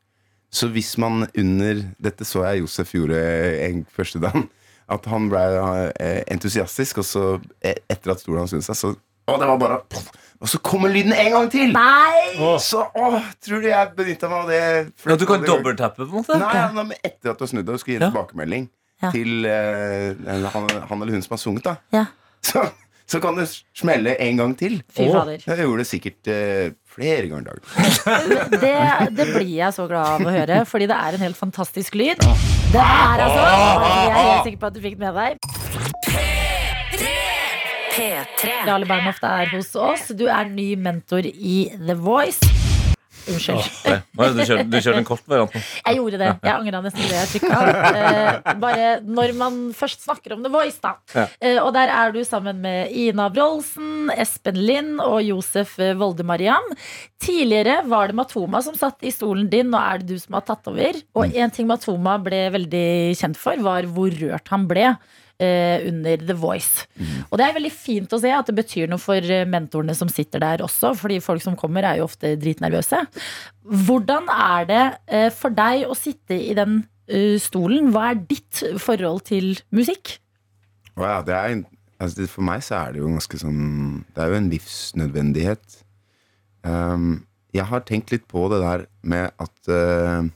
Så hvis man under Dette så jeg Josef gjorde en, første dagen. At han ble eh, entusiastisk, og så eh, etter at stolen hans snudde seg, så Å, det var bare Og så kommer lyden en gang til! Nei! Så å, tror du jeg benytta meg av det? At du kan dobbelttappe, på en måte? Nei, ja, men etter at du har snudd deg, du skulle gi Ja. en tilbakemelding Ja. til eh, han, han eller hun som har sunget, da. Ja, Så, så kan det smelle en gang til. fy Åh. fader. Jeg gjorde det sikkert eh, flere ganger i dag. det, det blir jeg så glad av å høre, fordi det er en helt fantastisk lyd. Den er altså Jeg er helt sikker på at du fikk den med deg. P3. Jarle Bernhoft er hos oss. Du er ny mentor i The Voice. Unnskyld. Nei, Nei, du kjører, du kjører den kort varianten. Jeg gjorde det. Jeg angra nesten det jeg trykka. Eh, bare når man først snakker om The Voice, da. Ja. Eh, og der er du sammen med Ina Wroldsen, Espen Lind og Josef eh, Voldemariam. Tidligere var det Matoma som satt i stolen din, nå er det du som har tatt over. Og en ting Matoma ble veldig kjent for, var hvor rørt han ble. eh, under The Voice. Mm. Og det er veldig fint å se at det betyr noe for eh, mentorene som sitter der også, fordi folk som kommer er jo ofte dritnervøse. Hvordan er det eh, for deg å sitte i den eh, stolen? Hva er ditt forhold til musikk? Og ja, det er, en- altså, det, for meg så er det jo ganske sånn Det er jo en livsnødvendighet. Ehm, jeg har tenkt litt på det der med at eh,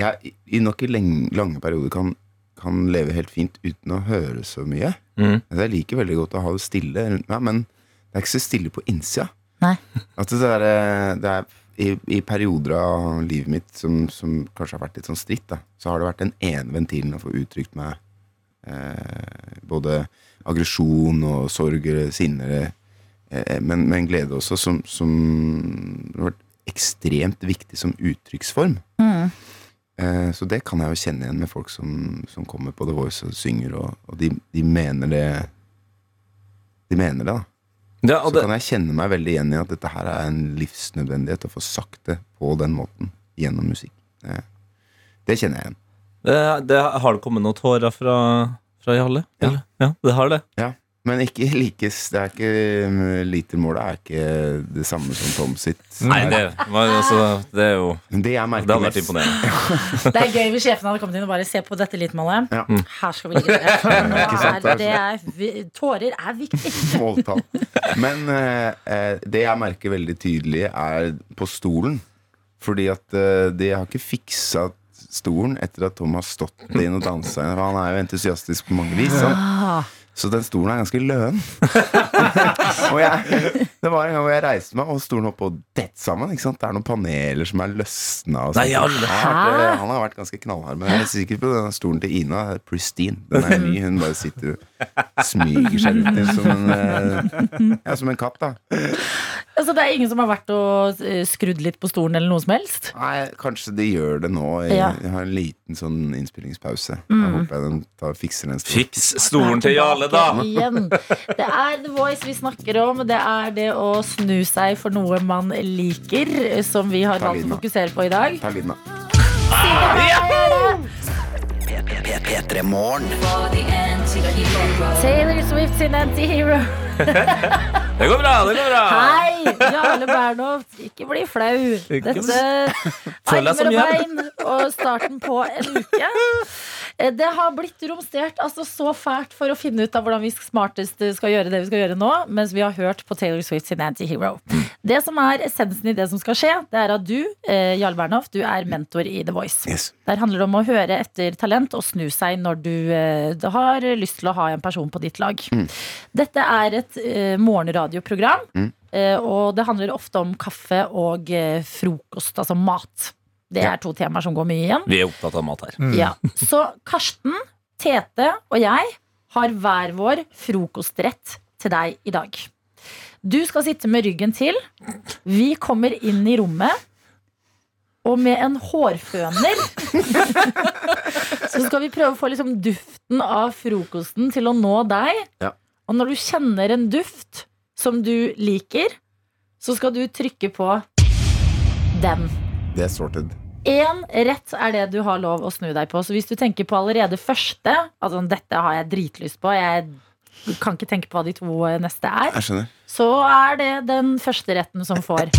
jeg i- i nok i leng, lange perioder kan, kan leve helt fint uten å høre så mye. Mhm. Altså, jeg liker veldig godt å ha det stille rundt meg, men det er ikke så stille på innsida. Nei. At det er, eh, det er i, I perioder av livet mitt som, som kanskje har vært litt sånn stritt, da, så har det vært den ene ventilen å få uttrykt meg eh, både aggresjon og sorg eller sinne, eller, eh, men, men glede også, som, som har vært ekstremt viktig som uttrykksform. Eh, Så det kan jeg jo kjenne igjen med folk som, som kommer på The Voice og synger, og, og de, de mener det De mener det, da. Ja, og Så det, kan jeg kjenne meg veldig igjen i at dette her er en livsnødvendighet å få sagt det på den måten gjennom musikk. Eh, Det kjenner jeg igjen. det, det, har det kommet noen tårer fra, fra Jarle? Ja. eller? ja, det har det. Ja, men ikke likes det er ikke, mm, Litermålet er ikke det samme som Tom sitt. Nei, det, men altså, det er jo Men det jeg Det merker hadde vært mest- imponerende. Det er gøy hvis sjefen hadde kommet inn og bare se på dette litmålet. Ja. Her skal vi ligge. Nå sant, er det er, vi- Tårer er viktig. måltall. Men eh, eh, det jeg merker veldig tydelig, er på stolen. Fordi at eh, de har ikke fiksa stolen etter at Tom har stått inn og dansa. i den, for Han er jo entusiastisk på mange vis. sant? Så den stolen er ganske løen. og jeg, det var en gang hvor jeg reiste meg, og stolen holdt på å dette sammen. Ikke sant? Det er noen paneler som er løsna. Og sånt. Nei, alle. han, har vært, han har vært ganske knallhard. Men jeg er sikker på den stolen til Ina. er Pristine. Den er ny. Hun bare sitter og smyger seg rundt i den som en, eh, ja, som en katt. da Altså, det er ingen som har vært og eh, skrudd litt på stolen eller noe som helst? Nei, kanskje de gjør det nå. Jeg, Ja. jeg har en liten sånn innspillingspause. Jeg håper jeg den tar, fikser den stolen. Fiks stolen til Jarle, da! Igjen. Det er The Voice vi snakker om. Det er det å snu seg for noe man liker, som vi har valgt å fokusere på i dag. Ta lyden, da. P3 Morgen. Taylor Swift sin Anti-Hero. Det går bra! det går bra Hei, Jarle Bernhoft, ikke bli flau. Ikke Dette Føl deg som armer og bein og starten på en uke. Eh, Det har blitt romstert altså så fælt for å finne ut av hvordan vi smartest skal gjøre det vi skal gjøre nå, mens vi har hørt på Taylor Swift sin Anti-Hero. Det som er essensen i det som skal skje, det er at du, eh, Jarle Bernhoft, du er mentor i The Voice. Yes. Der handler det om å høre etter talent og snu seg når du eh, har lyst til å ha en person på ditt lag. Dette er et eh, morgenradioprogram, eh, og det handler ofte om kaffe og eh, frokost, altså mat. Det er to temaer som går mye igjen. Vi er opptatt av mat her. Ja. Så Karsten, Tete og jeg har hver vår frokostrett til deg i dag. Du skal sitte med ryggen til. Vi kommer inn i rommet. Og med en hårføner så skal vi prøve å få liksom duften av frokosten til å nå deg. Ja. Og når du kjenner en duft som du liker, så skal du trykke på den. Det er sorted. Én rett er det du har lov å snu deg på. Så hvis du tenker på allerede første Altså dette har jeg dritlyst på, jeg kan ikke tenke på hva de to eh, neste er, Jeg skjønner. så er det den første retten som får.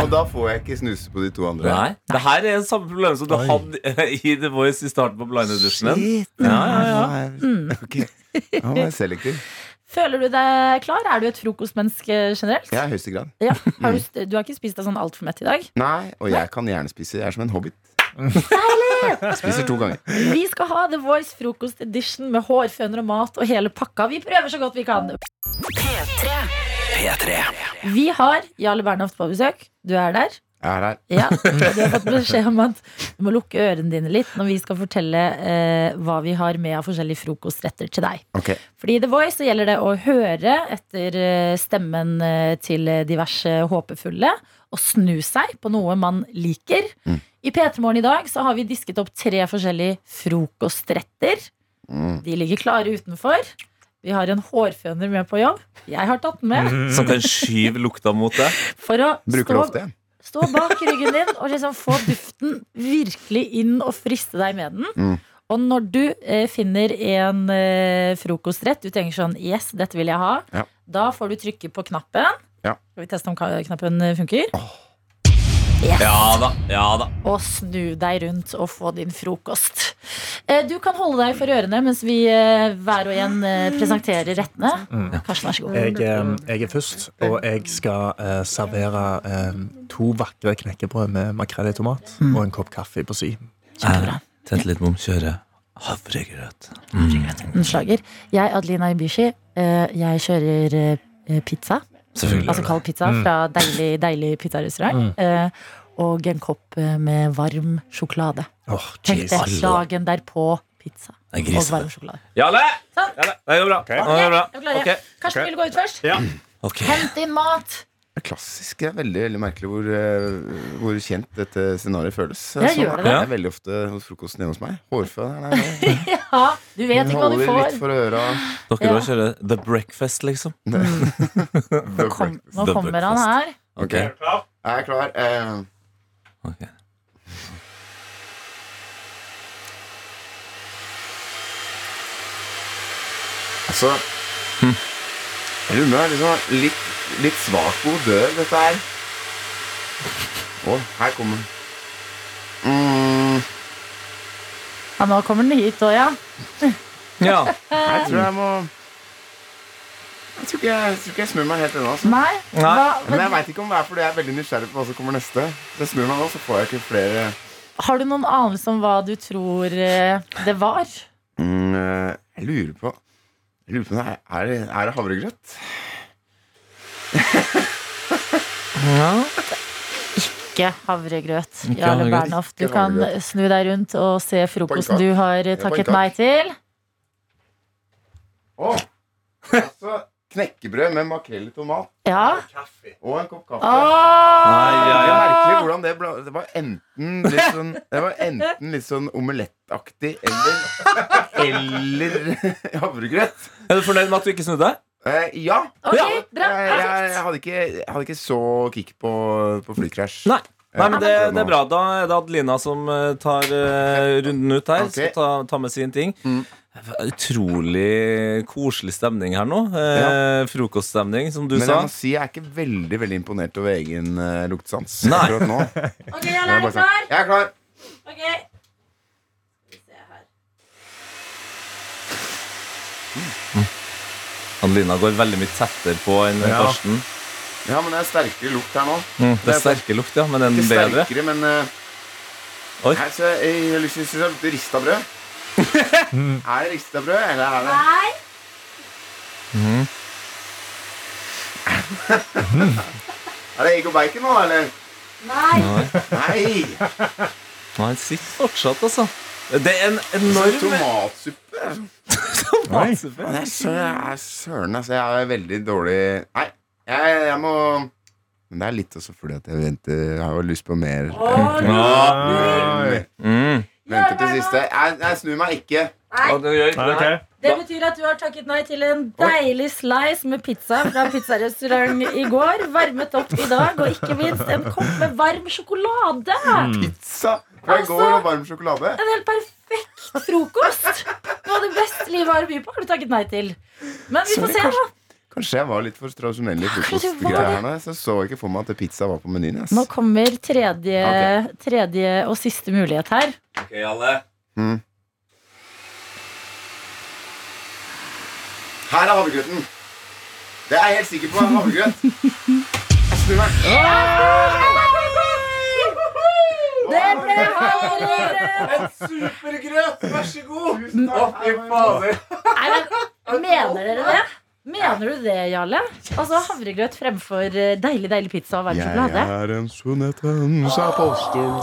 Og da får jeg ikke snuse på de to andre. Nei. Det her er samme problem som du Oi. hadde i The Voice i starten på Blind Audition. Ja, ja, ja. ja. Ok. Nå var jeg selektiv. Føler du deg klar? Er du et frokostmenneske generelt? Jeg er i høyeste grad. Ja. Har du, st- du har ikke spist deg sånn altfor mett i dag? Nei, og jeg kan gjerne spise. Jeg er som en hobbit. Spiser to ganger. Vi skal ha The Voice frokost edition med hårføner og mat og hele pakka. Vi prøver så godt vi kan. P3 Vi har Jarle Bernhoft på besøk. Du er der. Jeg er her. Ja, og Du har fått beskjed om at du må lukke ørene dine litt når vi skal fortelle eh, hva vi har med av forskjellige frokostretter til deg. Ok. Fordi i The Voice så gjelder det å høre etter eh, stemmen eh, til diverse håpefulle og snu seg på noe man liker. Mm. I P3 Morgen i dag så har vi disket opp tre forskjellige frokostretter. Mm. De ligger klare utenfor. Vi har en hårføner med på jobb. Jeg har tatt den med. Som kan skyve lukta mot deg. For å Mm. Bruker du stå ofte en? Stå bak ryggen din og liksom få duften virkelig inn og friste deg med den. Mm. Og når du eh, finner en eh, frokostrett, du tenker sånn Yes, dette vil jeg ha. Ja. Da får du trykke på knappen. Ja. Skal vi teste om ka- knappen eh, funker? Ja da. ja da Og snu deg rundt og få din frokost. Eh, du kan holde deg for ørene mens vi eh, hver og en eh, presenterer rettene. Karsten, vær så god. Jeg, eh, jeg er først, og jeg skal eh, servere eh, to vakre knekkebrød med makrell i tomat Mm. og en kopp kaffe på si. Tent litt mom, kjøre havregrøt. Slager. Jeg, Adelina Ibishi, eh, jeg kjører eh, pizza. Selvfølgelig. Altså kald pizza fra deilig, deilig pizzarestaurant. Eh, og en kopp eh, med varm sjokolade. Åh, Tenk jeez. det. Dagen derpå pizza Jeg og griser. varm sjokolade. Jarle! Sånn. Jarle, Det går bra. Ok, Det går bra. jeg klarer det. Ok. Karsten vil gå ut først. Ok. Hent inn mat. Det er klassisk. Det er veldig, veldig merkelig hvor, eh, hvor kjent dette scenarioet føles. Sånn, Ja, gjør det det? er veldig ofte hos frokosten hjemme hos meg. Hårføneren er det. Ja, du vet ikke hva du holder får. litt for øra. Dere Ja. òg kjører The Breakfast, liksom. The Kom, breakfast. nå The kommer han her. Ok, jeg er klar. Eh, Ok. altså Rune er liksom litt, litt svak mot dør, dette her. Å, her kommer den. Mm, Ja, nå kommer den hit òg, ja. Ja. jeg tror jeg må Jeg tror ikke jeg, jeg, tror ikke jeg smører meg helt ennå. Altså. Nei. Hva, Men men, jeg veit ikke om det er fordi jeg er veldig nysgjerrig på hva som kommer neste. Så jeg snur meg nå, så får jeg ikke flere har du noen anelse om hva du tror eh, det var? mm, eh, Jeg lurer på jeg lurer på om det er, er, det- er det havregrøt? Ikke havregrøt. Ikke Jarle havregrøt. Bernhoft, du Ikke kan havregrøt. snu deg rundt og se frokosten Poengkak. du har eh, Ja, takket poengkak. nei til. Å! Altså, knekkebrød med makrell i tomat Ja. og en kopp kaffe. Åh! Nei, Det ja, er ja. merkelig hvordan det ble Det var enten litt sånn Det var enten litt sånn omelettaktig eller Eller havregrøt. Er du fornøyd med at du ikke snudde deg? Eh, ja. Ok, Jeg, bra. jeg, jeg, hadde ikke, jeg hadde ikke så kick på, på flykrasj. Nei. Nei, men det, Jeg- det er bra. Da er det Adelina som eh, tar eh, runden ut her. Ok. Mm. Skal ta, ta med sin ting. Utrolig koselig stemning her nå. Eh, Frokoststemning, som du Men sa. jeg må si jeg er ikke veldig veldig imponert over egen eh, luktesans. Nei. akkurat nå. Ok, jeg Det er er bare klar. sånn, Jeg er klar. Ok. Skal vi se her. Annelina går veldig mye tettere på enn Ja. Karsten. Ja, men det er sterkere lukt her nå. Mm, det er Det er bare- sterke lukt, ja, men den Ikke bedre. sterkere, men eh, Oi. Her, så jeg, jeg liksom synes jeg lukter rista brød. er det rista brød, eller er det Nei. Mm-hmm. Er det egg og bacon nå, eller? Nei. Nei! Nei, den sitter fortsatt, altså. Det er en Sånn enorm Tomatsuppe. tomatsuppe. Nei, sø- jeg er Søren, altså. Jeg er veldig dårlig Nei, jeg, jeg må Men det er litt også fordi at jeg venter Jeg har jo lyst på mer. Åh, Oi. Mm. Venter til siste. Jeg, jeg snur meg ikke. Nei. Og den gjør Nei, den her. ok. Det betyr at du har takket nei til en deilig slice med pizza fra pizzarestaurant i går. Varmet opp i dag, og ikke minst en kopp med varm sjokolade. Mm. Pizza fra i Altså- går og varm sjokolade. En helt perfekt frokost. Noe av det beste livet har å by på, har du takket nei til. Men vi får Sorry, se, da. Kanskje jeg var litt for tradisjonell i frokostgreier her nå. Så så jeg ikke for meg at pizza var på menyen. Nå ass. kommer tredje, tredje og siste mulighet her. Ok, alle. Mm. Her er havregrøten. Det er jeg helt sikker på. er Havregrøt. Jeg snur meg. Det ble havregrøt! En supergrøt! Vær så god! Nei, men Mener dere det? Mener du det, Jarle? Altså Havregrøt fremfor eh, deilig, deilig pizza og varm sjokolade? er en sånn sunnhetens apostol.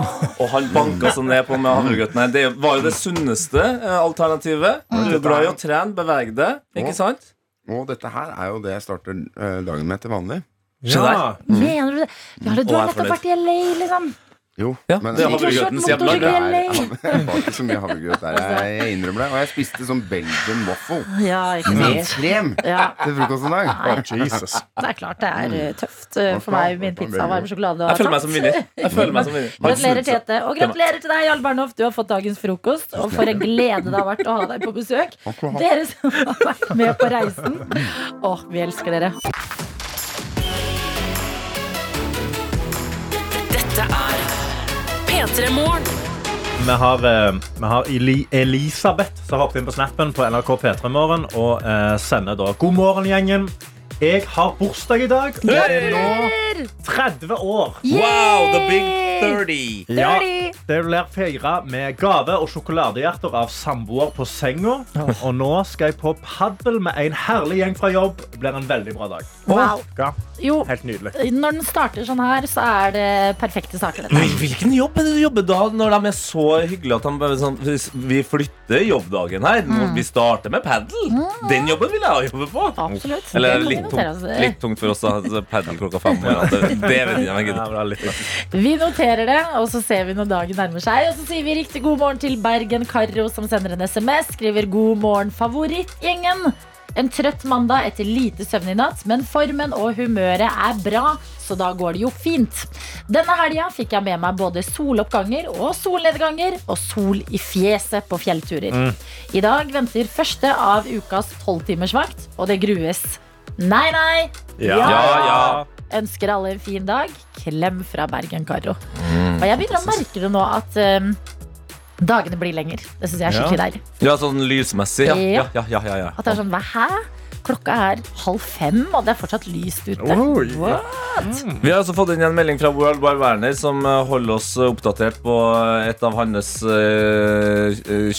Og han banka seg ned på med havregrøten her. Det var jo det sunneste eh, alternativet. Du er glad i å trene, bevege deg, ikke sant? Og dette her er jo det jeg starter eh, dagen med til vanlig. Se Ja. Mm. Mener du det? Jarle, du Og har er nettopp fornøyd. vært i LA, liksom. Jo, Ja, det er Du har kjørt havregrøtens motorsykkel i hjemland. det. hjemland, LA. det var ikke så mye havregrøt der. Jeg, jeg innrømmer det. Og jeg spiste sånn Belgian waffle Ja, ikke Mm. med sant. krem Ja, til frokost en dag. Jesus. det er klart det er eh, tøft eh, for meg, min pizza og varm sjokolade. Jeg føler meg som vinner. Jeg føler meg som vinner. Gratulerer, Tete. Og gratulerer til deg, Jarle Bernhoft. Du har fått dagens frokost. Og for en glede det har vært å ha deg på besøk. Dere som har vært med på reisen. Å, vi elsker dere. Dette er P3 Morgen. Vi har, eh, vi har Eli Elisabeth som har hoppet inn på snappen på NRK P3 Morgen og eh, sender da God morgen, gjengen. Jeg har bursdag i dag. og Jeg er nå 30 år. Wow, the big 30. Ja, det blir feira med gave og sjokoladehjerter av samboer på senga. Og nå skal jeg på padel med en herlig gjeng fra jobb. Det blir en veldig bra dag. Wow. Ja, Jo, helt nydelig. når den starter sånn her, så er det perfekte saker. Nei, Dette. Hvilken jobb er det du jobber da, når de er så hyggelige at de bare sånn hvis Vi flytter jobbdagen her. Mm. Nå, vi starter med padel. Den jobben vil jeg jobbe på. Absolutt. Det Eller kan vi litt notere tungt, oss. litt tungt for oss, da. altså, Padel klokka fem. om morgenen. Det vet jeg ikke om jeg Ja, gidder. det var litt bra. Vi noterer det, og så ser vi når dagen nærmer seg. Og så sier vi riktig god morgen til Bergen Karro, som sender en SMS. Skriver 'God morgen, favorittgjengen'. En trøtt mandag etter lite søvn i natt, men formen og humøret er bra, så da går det jo fint. Denne helga fikk jeg med meg både soloppganger og solnedganger, og sol i fjeset på fjellturer. I dag venter første av ukas tolvtimersvakt, og det grues. Nei, nei. Ja, ja. Ønsker alle en fin dag. Klem fra Bergen, Karo. Og jeg begynner å merke det nå at um, dagene blir lenger. Det syns jeg er skikkelig deilig. Ja, sånn lysmessig. Ja, ja, ja. ja, ja, ja. At det er sånn, hva, hæ? Klokka er halv fem, og det er fortsatt lyst ute. Oi. Wow. Vi har også fått inn en melding fra World Wide Werner, som eh, holder oss eh, oppdatert på eh, et av hans eh, eh,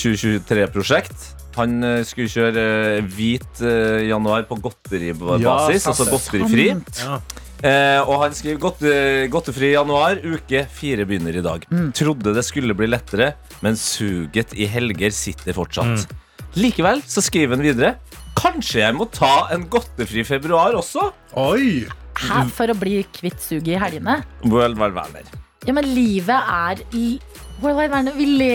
2023-prosjekt. Han eh, skulle kjøre eh, hvit eh, januar på Ja, godteribasis, sant altså det. godterifri. Ja. Eh, og han skriver godte- godtefri januar, uke fire begynner i dag. Mm. Trodde det skulle bli lettere, men suget i helger sitter Mm. fortsatt. Likevel så skriver han videre. Kanskje jeg må ta en godtefri februar også? Oi. Hæ? For å bli kvitt suget i helgene. World Wide Werner. Ja, men livet er i World Wide Werner, vi le...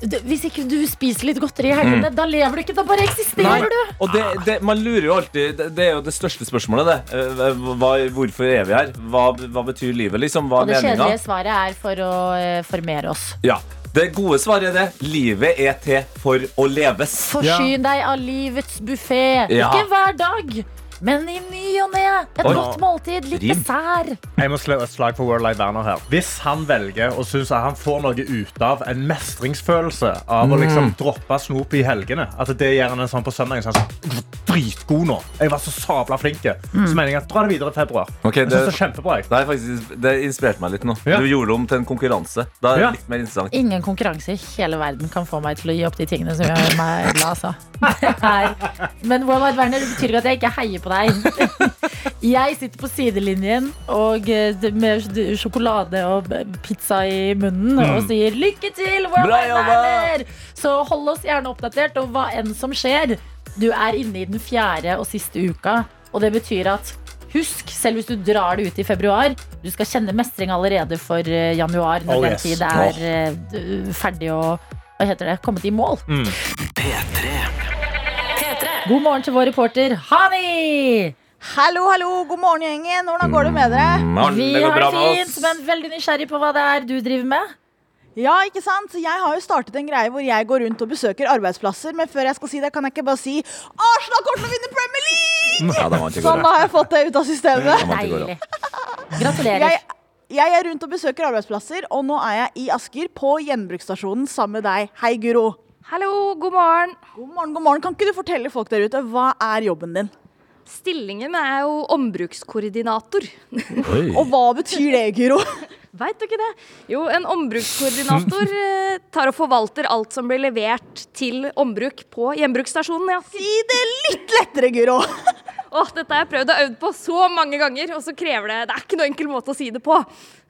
Du- Hvis ikke du spiser litt godteri i helgene, da lever du ikke. Da bare eksisterer du. Og det, det, man lurer jo alltid Det, det er jo det største spørsmålet, det. Eh, Hva, hvorfor er vi her? Hva, hva betyr livet, liksom? Hva Og det er meninga? kjedelige svaret er for å eh, formere oss. Ja. Det gode svaret er det. Livet er til for å leves. Forsyn deg av livets buffé. Ja. Ikke hver dag, men i ny og ne. Et Oi. godt måltid, litt Rim. dessert. Jeg må slå et slag for World Live Werner her. Hvis han velger og syns at han får noe ut av en mestringsfølelse av å Mm. liksom droppe snop i helgene At det gjør han en sånn på søndagen så er han sånn, Dritgod nå! Jeg var så sabla flink. Så mener jeg at dra det videre i februar. Ok, Jeg synes det er kjempebra. jeg. Nei, faktisk, det inspirerte meg litt nå. Ja. Du gjorde det om til en konkurranse. Da er det Ja. litt mer interessant. Ingen konkurranse i hele verden kan få meg til å gi opp de tingene som gjør meg glad, altså. Det er- Men World Wide Werner, det betyr ikke at jeg ikke heier på deg. Jeg sitter på sidelinjen og eh, med sj- sjokolade og b- pizza i munnen Mm. og sier lykke til, World Bra Wide jobba! Werner! Så hold oss gjerne oppdatert, og hva enn som skjer. Du er inne i den fjerde og siste uka, og det betyr at Husk, selv hvis du drar det ut i februar, du skal kjenne mestring allerede for eh, januar når Oh, den yes. tid Åh. er eh, d- ferdig og hva heter det, kommet i mål. Mm. God morgen til vår reporter Hani! Hallo, hallo, god morgen, gjengen. Hvordan går det med dere? morgen, Vi det går har det bra med fint, oss. men veldig nysgjerrig på hva det er du driver med. Ja, ikke sant? Jeg har jo startet en greie hvor jeg går rundt og besøker arbeidsplasser, men før jeg skal si det, kan jeg ikke bare si Arsenal kommer til å vinne Premier League! Ja, den vant i går, Mm. sånn, ja. da har jeg fått det ut av systemet. Den vant i går, ja. Gratulerer. Jeg, jeg er rundt og besøker arbeidsplasser, og nå er jeg i Asker på gjenbruksstasjonen sammen med deg. Hei, Guro. Hallo, god morgen. God morgen, god morgen. Kan ikke du fortelle folk der ute, hva er jobben din? Stillingen er jo ombrukskoordinator. Og hva betyr det, Guro? Veit du ikke det? Jo, en ombrukskoordinator eh, tar og forvalter alt som blir levert til ombruk på gjenbruksstasjonen, ja. Si det litt lettere, Guro. Åh, dette har jeg prøvd og øvd på så mange ganger, og så krever det Det er ikke noen enkel måte å si det på.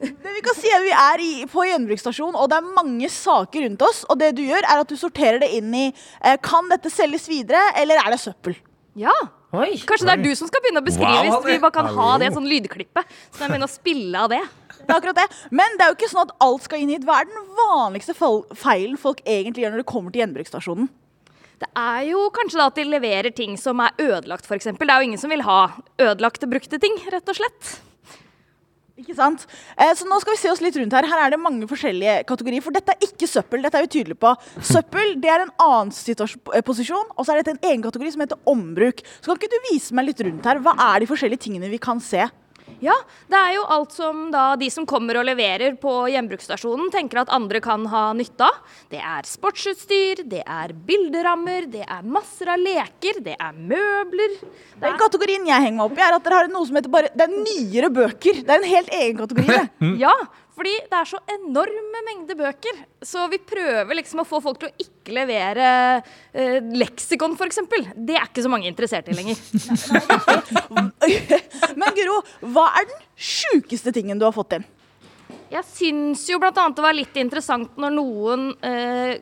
Det vi kan si er Vi er i, på gjenbruksstasjon, og det er mange saker rundt oss. Og det du gjør, er at du sorterer det inn i eh, Kan dette selges videre, eller er det søppel? Ja. Oi. Kanskje det er du som skal begynne å beskrive Wow, hvis vi Hanne. bare kan ha Hallo. det sånn lydklippet. Så kan jeg begynne å spille av det. Det er akkurat det. Men det er jo ikke sånn at alt skal inn hit. Hva er den vanligste fol- feilen folk egentlig gjør når de kommer til gjenbruksstasjonen? Det er jo kanskje da at de leverer ting som er ødelagt, f.eks. Det er jo ingen som vil ha ødelagte, brukte ting, rett og slett. Ikke sant? Eh, så nå skal vi se oss litt rundt her. Her er det mange forskjellige kategorier. For dette er ikke søppel. Dette er vi tydelige på. Søppel det er en annen situas- eh, posisjon, og så er dette en egen kategori som heter ombruk. Så kan ikke du vise meg litt rundt her? Hva er de forskjellige tingene vi kan se? Ja, det er jo alt som da de som kommer og leverer på gjenbruksstasjonen tenker at andre kan ha nytte av. Det er sportsutstyr, det er bilderammer, det er masser av leker, det er møbler. Den kategorien jeg henger meg opp i, er at dere har noe som heter bare Det er nyere bøker. Det er en helt egen kategori. det. Ja, fordi det er så enorme mengder bøker. Så vi prøver liksom å få folk til å ikke levere eh, leksikon, f.eks. Det er ikke så mange interessert i lenger. Men Guro, hva er den sjukeste tingen du har fått inn? Jeg syns jo blant annet det var litt interessant når noen eh,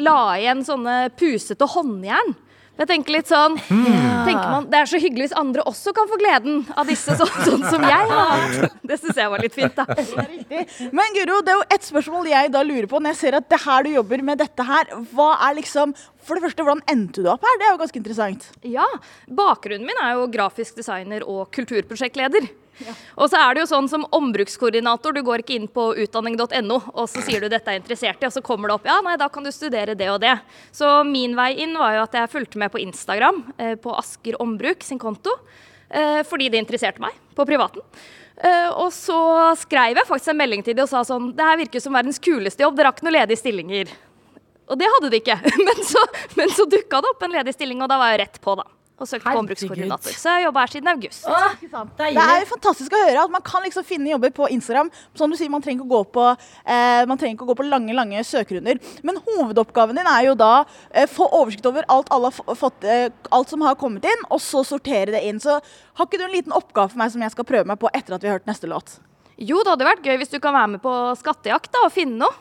la igjen sånne pusete håndjern. Jeg tenker litt sånn, tenker man, Det er så hyggelig hvis andre også kan få gleden av disse, sånn, sånn som jeg har hatt. Det syns jeg var litt fint, da. Men Guro, det er jo ett spørsmål jeg da lurer på når jeg ser at det her du jobber med dette her. Hva er liksom For det første, hvordan endte du opp her? Det er jo ganske interessant. Ja. Bakgrunnen min er jo grafisk designer og kulturprosjektleder. Og så er det jo sånn som ombrukskoordinator, du går ikke inn på utdanning.no, og så sier du dette er interessert i, og så kommer det opp ja, nei, da kan du studere det og det. Så min vei inn var jo at jeg fulgte med på Instagram, eh, på Asker Ombruk sin konto, eh, fordi det interesserte meg på privaten. Eh, og så skrev jeg faktisk en melding til de og sa sånn Det her virker som verdens kuleste jobb, dere har ikke noen ledige stillinger. Og det hadde de ikke. Men så, men så dukka det opp en ledig stilling, og da var jeg rett på, da. Og søkte på ombrukskoordinator. Så jeg har jobba her siden august. Det er jo fantastisk å høre at man kan liksom finne jobber på Instagram. Som du sier, man trenger ikke å gå på, eh, man trenger ikke å gå på lange lange søkerunder. Men hovedoppgaven din er jo da eh, få oversikt over alt, alle har f- fått, eh, alt som har kommet inn, og så sortere det inn. Så har ikke du en liten oppgave for meg som jeg skal prøve meg på etter at vi har hørt neste låt? Jo, det hadde vært gøy hvis du kan være med på skattejakt da, og finne noe.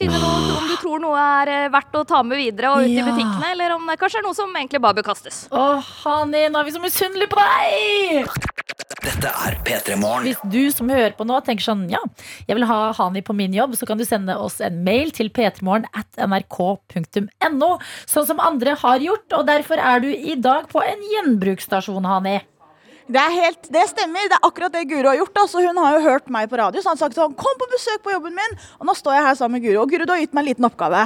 Finne noe om du tror noe er eh, verdt å ta med videre og ut i Ja. butikkene, eller om det kanskje er noe som egentlig bare bør kastes. Å, Hani, nå er vi så misunnelige på deg! Dette er P3 Morgen. Hvis du som hører på nå tenker sånn, ja, jeg vil ha Hani på min jobb, så kan du sende oss en mail til p3morgen at nrk.no, sånn som andre har gjort, og derfor er du i dag på en gjenbruksstasjon, Hani. Det, er helt, det stemmer. Det er akkurat det Guro har gjort. Altså, hun har jo hørt meg på radio, så han har sagt sånn Kom på besøk på jobben min! Og nå står jeg her sammen med Guro. Og Guro, du har gitt meg en liten oppgave.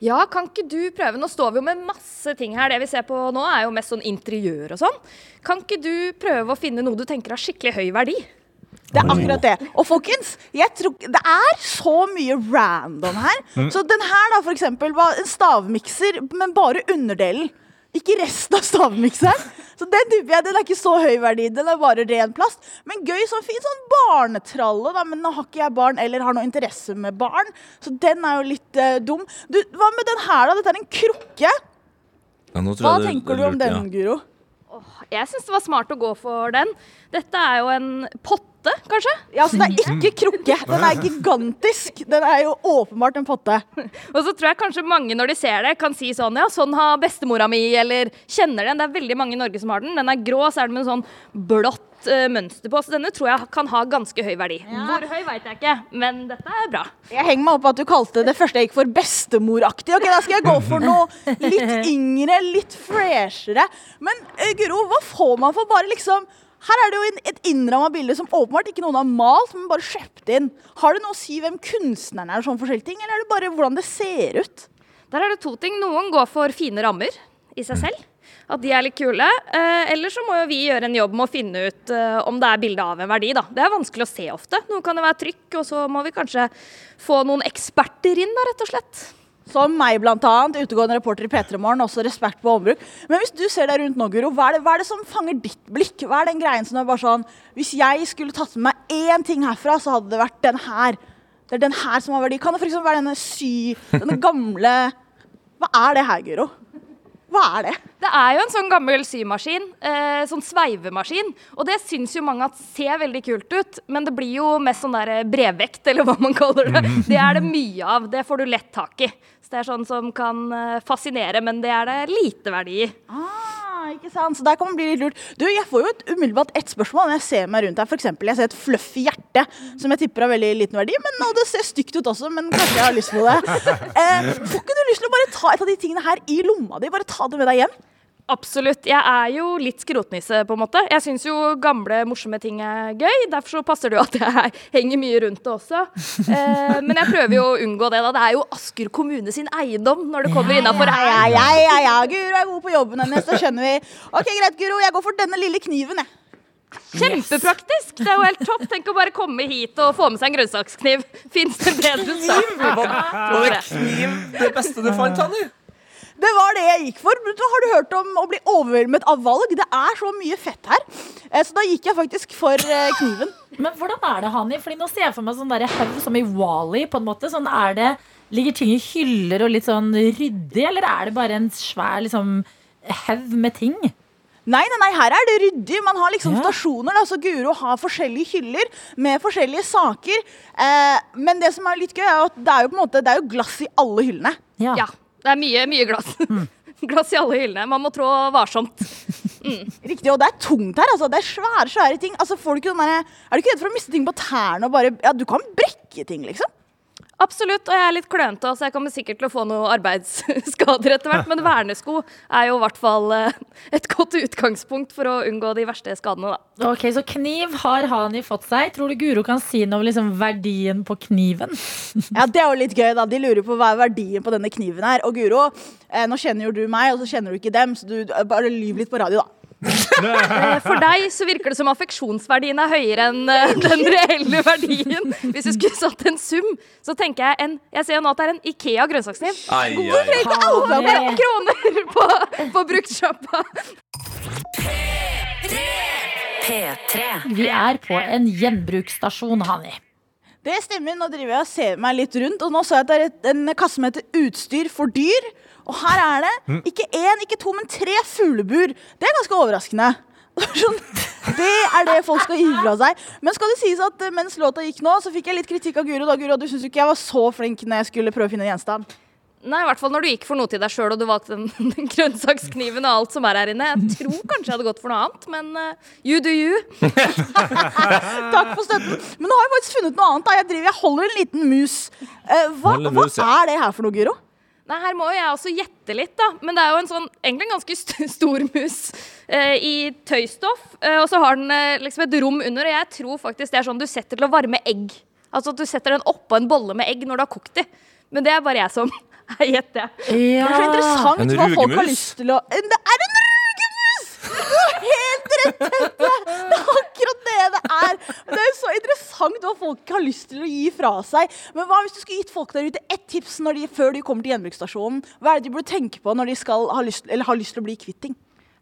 Ja, kan ikke du prøve? Nå står vi jo med masse ting her. Det vi ser på nå, er jo mest sånn interiør og sånn. Kan ikke du prøve å finne noe du tenker har skikkelig høy verdi? Det er akkurat det. Og folkens, jeg tror, det er så mye random her. Mm. Så den her da, for eksempel, var en stavmikser, men bare underdelen. Ikke resten av stavmikseren. Så den typer jeg, den er ikke så høy verdi. Den er bare ren plast. Men gøy, sånn fin sånn barnetralle, da. Men nå har ikke jeg barn, eller har noe interesse med barn. Så den er jo litt eh, dum. Du, hva med den her, da? Dette er en krukke. Ja, nå tror Hva jeg det- tenker det du er om lurt, ja. den, Guro? Jeg syns det var smart å gå for den. Dette er jo en potte, kanskje? Ja, så det er Mm. ikke krukke. Den er gigantisk. Den er jo åpenbart en potte. Og så tror jeg kanskje mange når de ser det, kan si sånn Ja, sånn har bestemora mi, eller kjenner den. Det er veldig mange i Norge som har den. Den er grå, så er den med en sånn blått eh, mønster på. Så denne tror jeg kan ha ganske høy verdi. Hvor høy veit jeg ikke, men dette er bra. Jeg henger meg opp på at du kalte det første jeg gikk for bestemoraktig. Ok, Da skal jeg gå for noe litt yngre, litt freshere. Men eh, Guro, hva får man for bare liksom her er det jo en, et innramma bilde som åpenbart ikke noen har malt, men bare kjøpt inn. Har det noe å si hvem kunstneren er, og sånn forskjellige ting, eller er det bare hvordan det ser ut? Der er det to ting. Noen går for fine rammer i seg selv. At de er litt kule. Eh, eller så må jo vi gjøre en jobb med å finne ut eh, om det er bilde av en verdi, da. Det er vanskelig å se ofte. Noe kan det være trykk, og så må vi kanskje få noen eksperter inn, da, rett og slett. Som meg, blant annet. Utegående reporter i P3 Morgen. Også respekt på ombruk. Men hvis du ser deg rundt nå, Guro, hva er, det, hva er det som fanger ditt blikk? Hva er den greien som er bare sånn Hvis jeg skulle tatt med meg én ting herfra, så hadde det vært den her. Det er den her som har verdi. Kan det f.eks. være denne sy... Denne gamle Hva er det her, Guro? Hva er det? Det er jo en sånn gammel symaskin, eh, sånn sveivemaskin. Og det syns jo mange at ser veldig kult ut, men det blir jo mest sånn der eh, brevvekt, eller hva man kaller det. Mhm. Det er det mye av. Det får du lett tak i. Så det er sånn som kan eh, fascinere, men det er det lite verdi i. Ah, ikke sant? Så der kan man bli litt lurt. Du, jeg får jo et umiddelbart ett spørsmål når jeg ser meg rundt her. For eksempel, jeg ser et fluffy hjerte, som jeg tipper har veldig liten verdi. Men og det ser stygt ut også, men kanskje jeg har lyst på det. Eh, får ikke du lyst til å bare ta et av de tingene her i lomma di? Bare ta det med deg hjem? Absolutt. Jeg er jo litt skrotnisse, på en måte. Jeg syns jo gamle, morsomme ting er gøy. Derfor så passer det jo at jeg henger mye rundt det også. Eh, men jeg prøver jo å unngå det, da. Det er jo Asker kommune sin eiendom når det kommer innafor ja, ja, ja, ja, ja. Guro er god på jobben hennes, da skjønner vi. Ok, greit, Guro. Jeg går for denne lille kniven, jeg. Kjempepraktisk! Det er jo helt topp. Tenk å bare komme hit og få med seg en grønnsakskniv. Fins det bedre sak? Var det kniv det beste du fant, Hanni? Det var det jeg gikk for. Vet du hva, Har du hørt om å bli overveldet av valg? Det er så mye fett her. Eh, Så da gikk jeg faktisk for eh, kniven. Men hvordan er det, Hani? Fordi nå ser jeg for meg sånn derre haug som i Wally, på en måte. Sånn er det Ligger ting i hyller og litt sånn ryddig, eller er det bare en svær liksom haug med ting? Nei, nei, nei, her er det ryddig. Man har liksom stasjoner. da, så Guro har forskjellige hyller med forskjellige saker. Eh, men det som er litt gøy, er at det er jo på en måte, det er jo glass i alle hyllene. Ja. Det er mye, mye glass. Glass i alle hyllene. Man må trå varsomt. Riktig, og det er tungt her. altså, Det er svære svære ting. altså får du ikke den der, Er du ikke redd for å miste ting på tærne? og bare, ja, Du kan brekke ting, liksom. Absolutt, og jeg er litt klønete, så jeg kommer sikkert til å få noen arbeidsskader etter hvert. Men vernesko er jo i hvert fall eh, et godt utgangspunkt for å unngå de verste skadene, da. Ok, Så kniv har Hani fått seg. Tror du Guro kan si noe om liksom verdien på kniven? Ja, Det er jo litt gøy, da. De lurer på hva er verdien på denne kniven her. Og Guro, eh, nå kjenner jo du meg, og så kjenner du ikke dem, så du du- bare lyv litt på radio, da. Eh, For deg så virker det som affeksjonsverdien er høyere enn eh, den reelle verdien. Hvis du skulle satt en sum, så tenker jeg en Jeg ser jo nå at det er en Ikea grønnsakskniv. Ai, ai, Hvorfor ai. ikke alle med kroner på, på bruktsjappa? Vi er på en gjenbruksstasjon, Hani. Det stemmer. Nå driver jeg og ser meg litt rundt, og nå så jeg at det er et, en kasse som heter Utstyr for dyr. Og her er Mm. det ikke én, ikke to, men tre fuglebur. Det er ganske overraskende. Sånn, det er det folk skal gi fra seg. Men skal det sies at eh, mens låta gikk nå, så fikk jeg litt kritikk av Guro. Da, Guro, du syns jo ikke jeg var så flink når jeg skulle prøve å finne en gjenstand. Nei, i hvert fall når du gikk for noe til deg sjøl og du valgte den, den grønnsakskniven og alt som er her inne. Jeg tror kanskje jeg hadde gått for noe annet, men eh, you do you. Takk for støtten. Men nå har jeg faktisk funnet noe annet. da Jeg, driver, jeg holder en liten mus. Eh, hva Hold en mus, hva ja. er det her for noe, Guro? Nei, her må jo jeg også gjette litt, da. Men det er jo en sånn, egentlig en ganske st stor mus eh, i tøystoff. Eh, og så har den eh, liksom et rom under, og jeg tror faktisk det er sånn du setter til å varme egg. Altså at du setter den oppå en bolle med egg når du har kokt de. Men det er bare jeg som gjetter. Det er Ah. så interessant En hva folk har rugemus? lyst til å Det er en rugemus! Du har helt rett, Tete! Det er akkurat det det er. Det er så interessant hva folk har lyst til å gi fra seg. Men hva hvis du skulle gitt folk der ute ett tips når de, før de kommer til gjenbruksstasjonen? Hva er det de burde tenke på når de skal ha lyst, eller har lyst til å bli kvitt ting?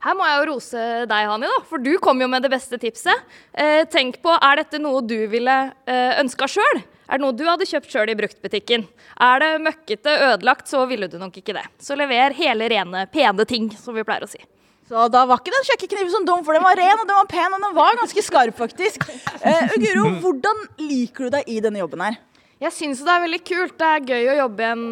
Her må jeg jo rose deg, Hani, da, for du kom jo med det beste tipset. Eh, tenk på, er dette noe du ville eh, ønska sjøl? Er det noe du hadde kjøpt sjøl i bruktbutikken? Er det møkkete, ødelagt, så ville du nok ikke det. Så lever hele rene, pene ting, som vi pleier å si. Så da var ikke den kjøkkenkniven så dum, for den var ren og den var pen og den var ganske skarp, faktisk. Eh, Guro, hvordan liker du deg i denne jobben her? Jeg syns det er veldig kult. Det er gøy å jobbe i en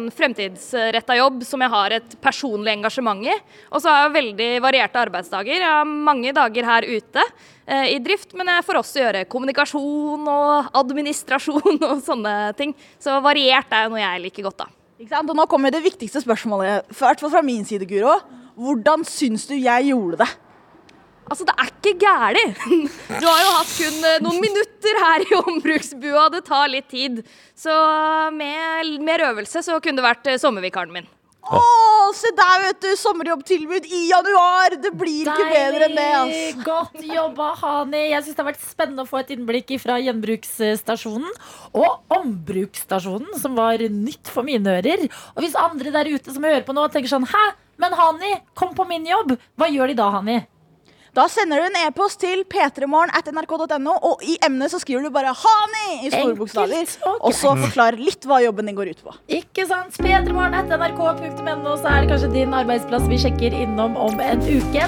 fremtidsretta jobb som jeg har et personlig engasjement i. Og så har jeg veldig varierte arbeidsdager. Jeg har mange dager her ute eh, i drift, men jeg får også gjøre kommunikasjon og administrasjon og sånne ting. Så variert er jo noe jeg liker godt, da. Ikke sant? Og nå kommer det viktigste spørsmålet, i hvert fall fra min side, Guro. Hvordan syns du jeg gjorde det? Altså, det er ikke gæli. Du har jo hatt kun eh, noen minutter her i ombruksbua, det tar litt tid. Så eh, med mer øvelse så kunne det vært eh, sommervikaren min. Å, se der, vet du! Sommerjobbtilbud i januar! Det blir ikke bedre enn det, altså. Godt jobba, Hani. Jeg syns det har vært spennende å få et innblikk fra gjenbruksstasjonen og ombruksstasjonen, som var nytt for mine ører. Og hvis andre der ute som hører på nå, tenker sånn Hæ, men Hani, kom på min jobb! Hva gjør de da, Hani? Da sender du en e-post til p3morgen at nrk.no, og i emnet så skriver du bare 'Hani' i store Enkelt bokstaver. og Og så greit. forklar litt hva jobben din går ut på. Ikke sant? P3morgen etter nrk.no, så er det kanskje din arbeidsplass vi sjekker innom om en uke.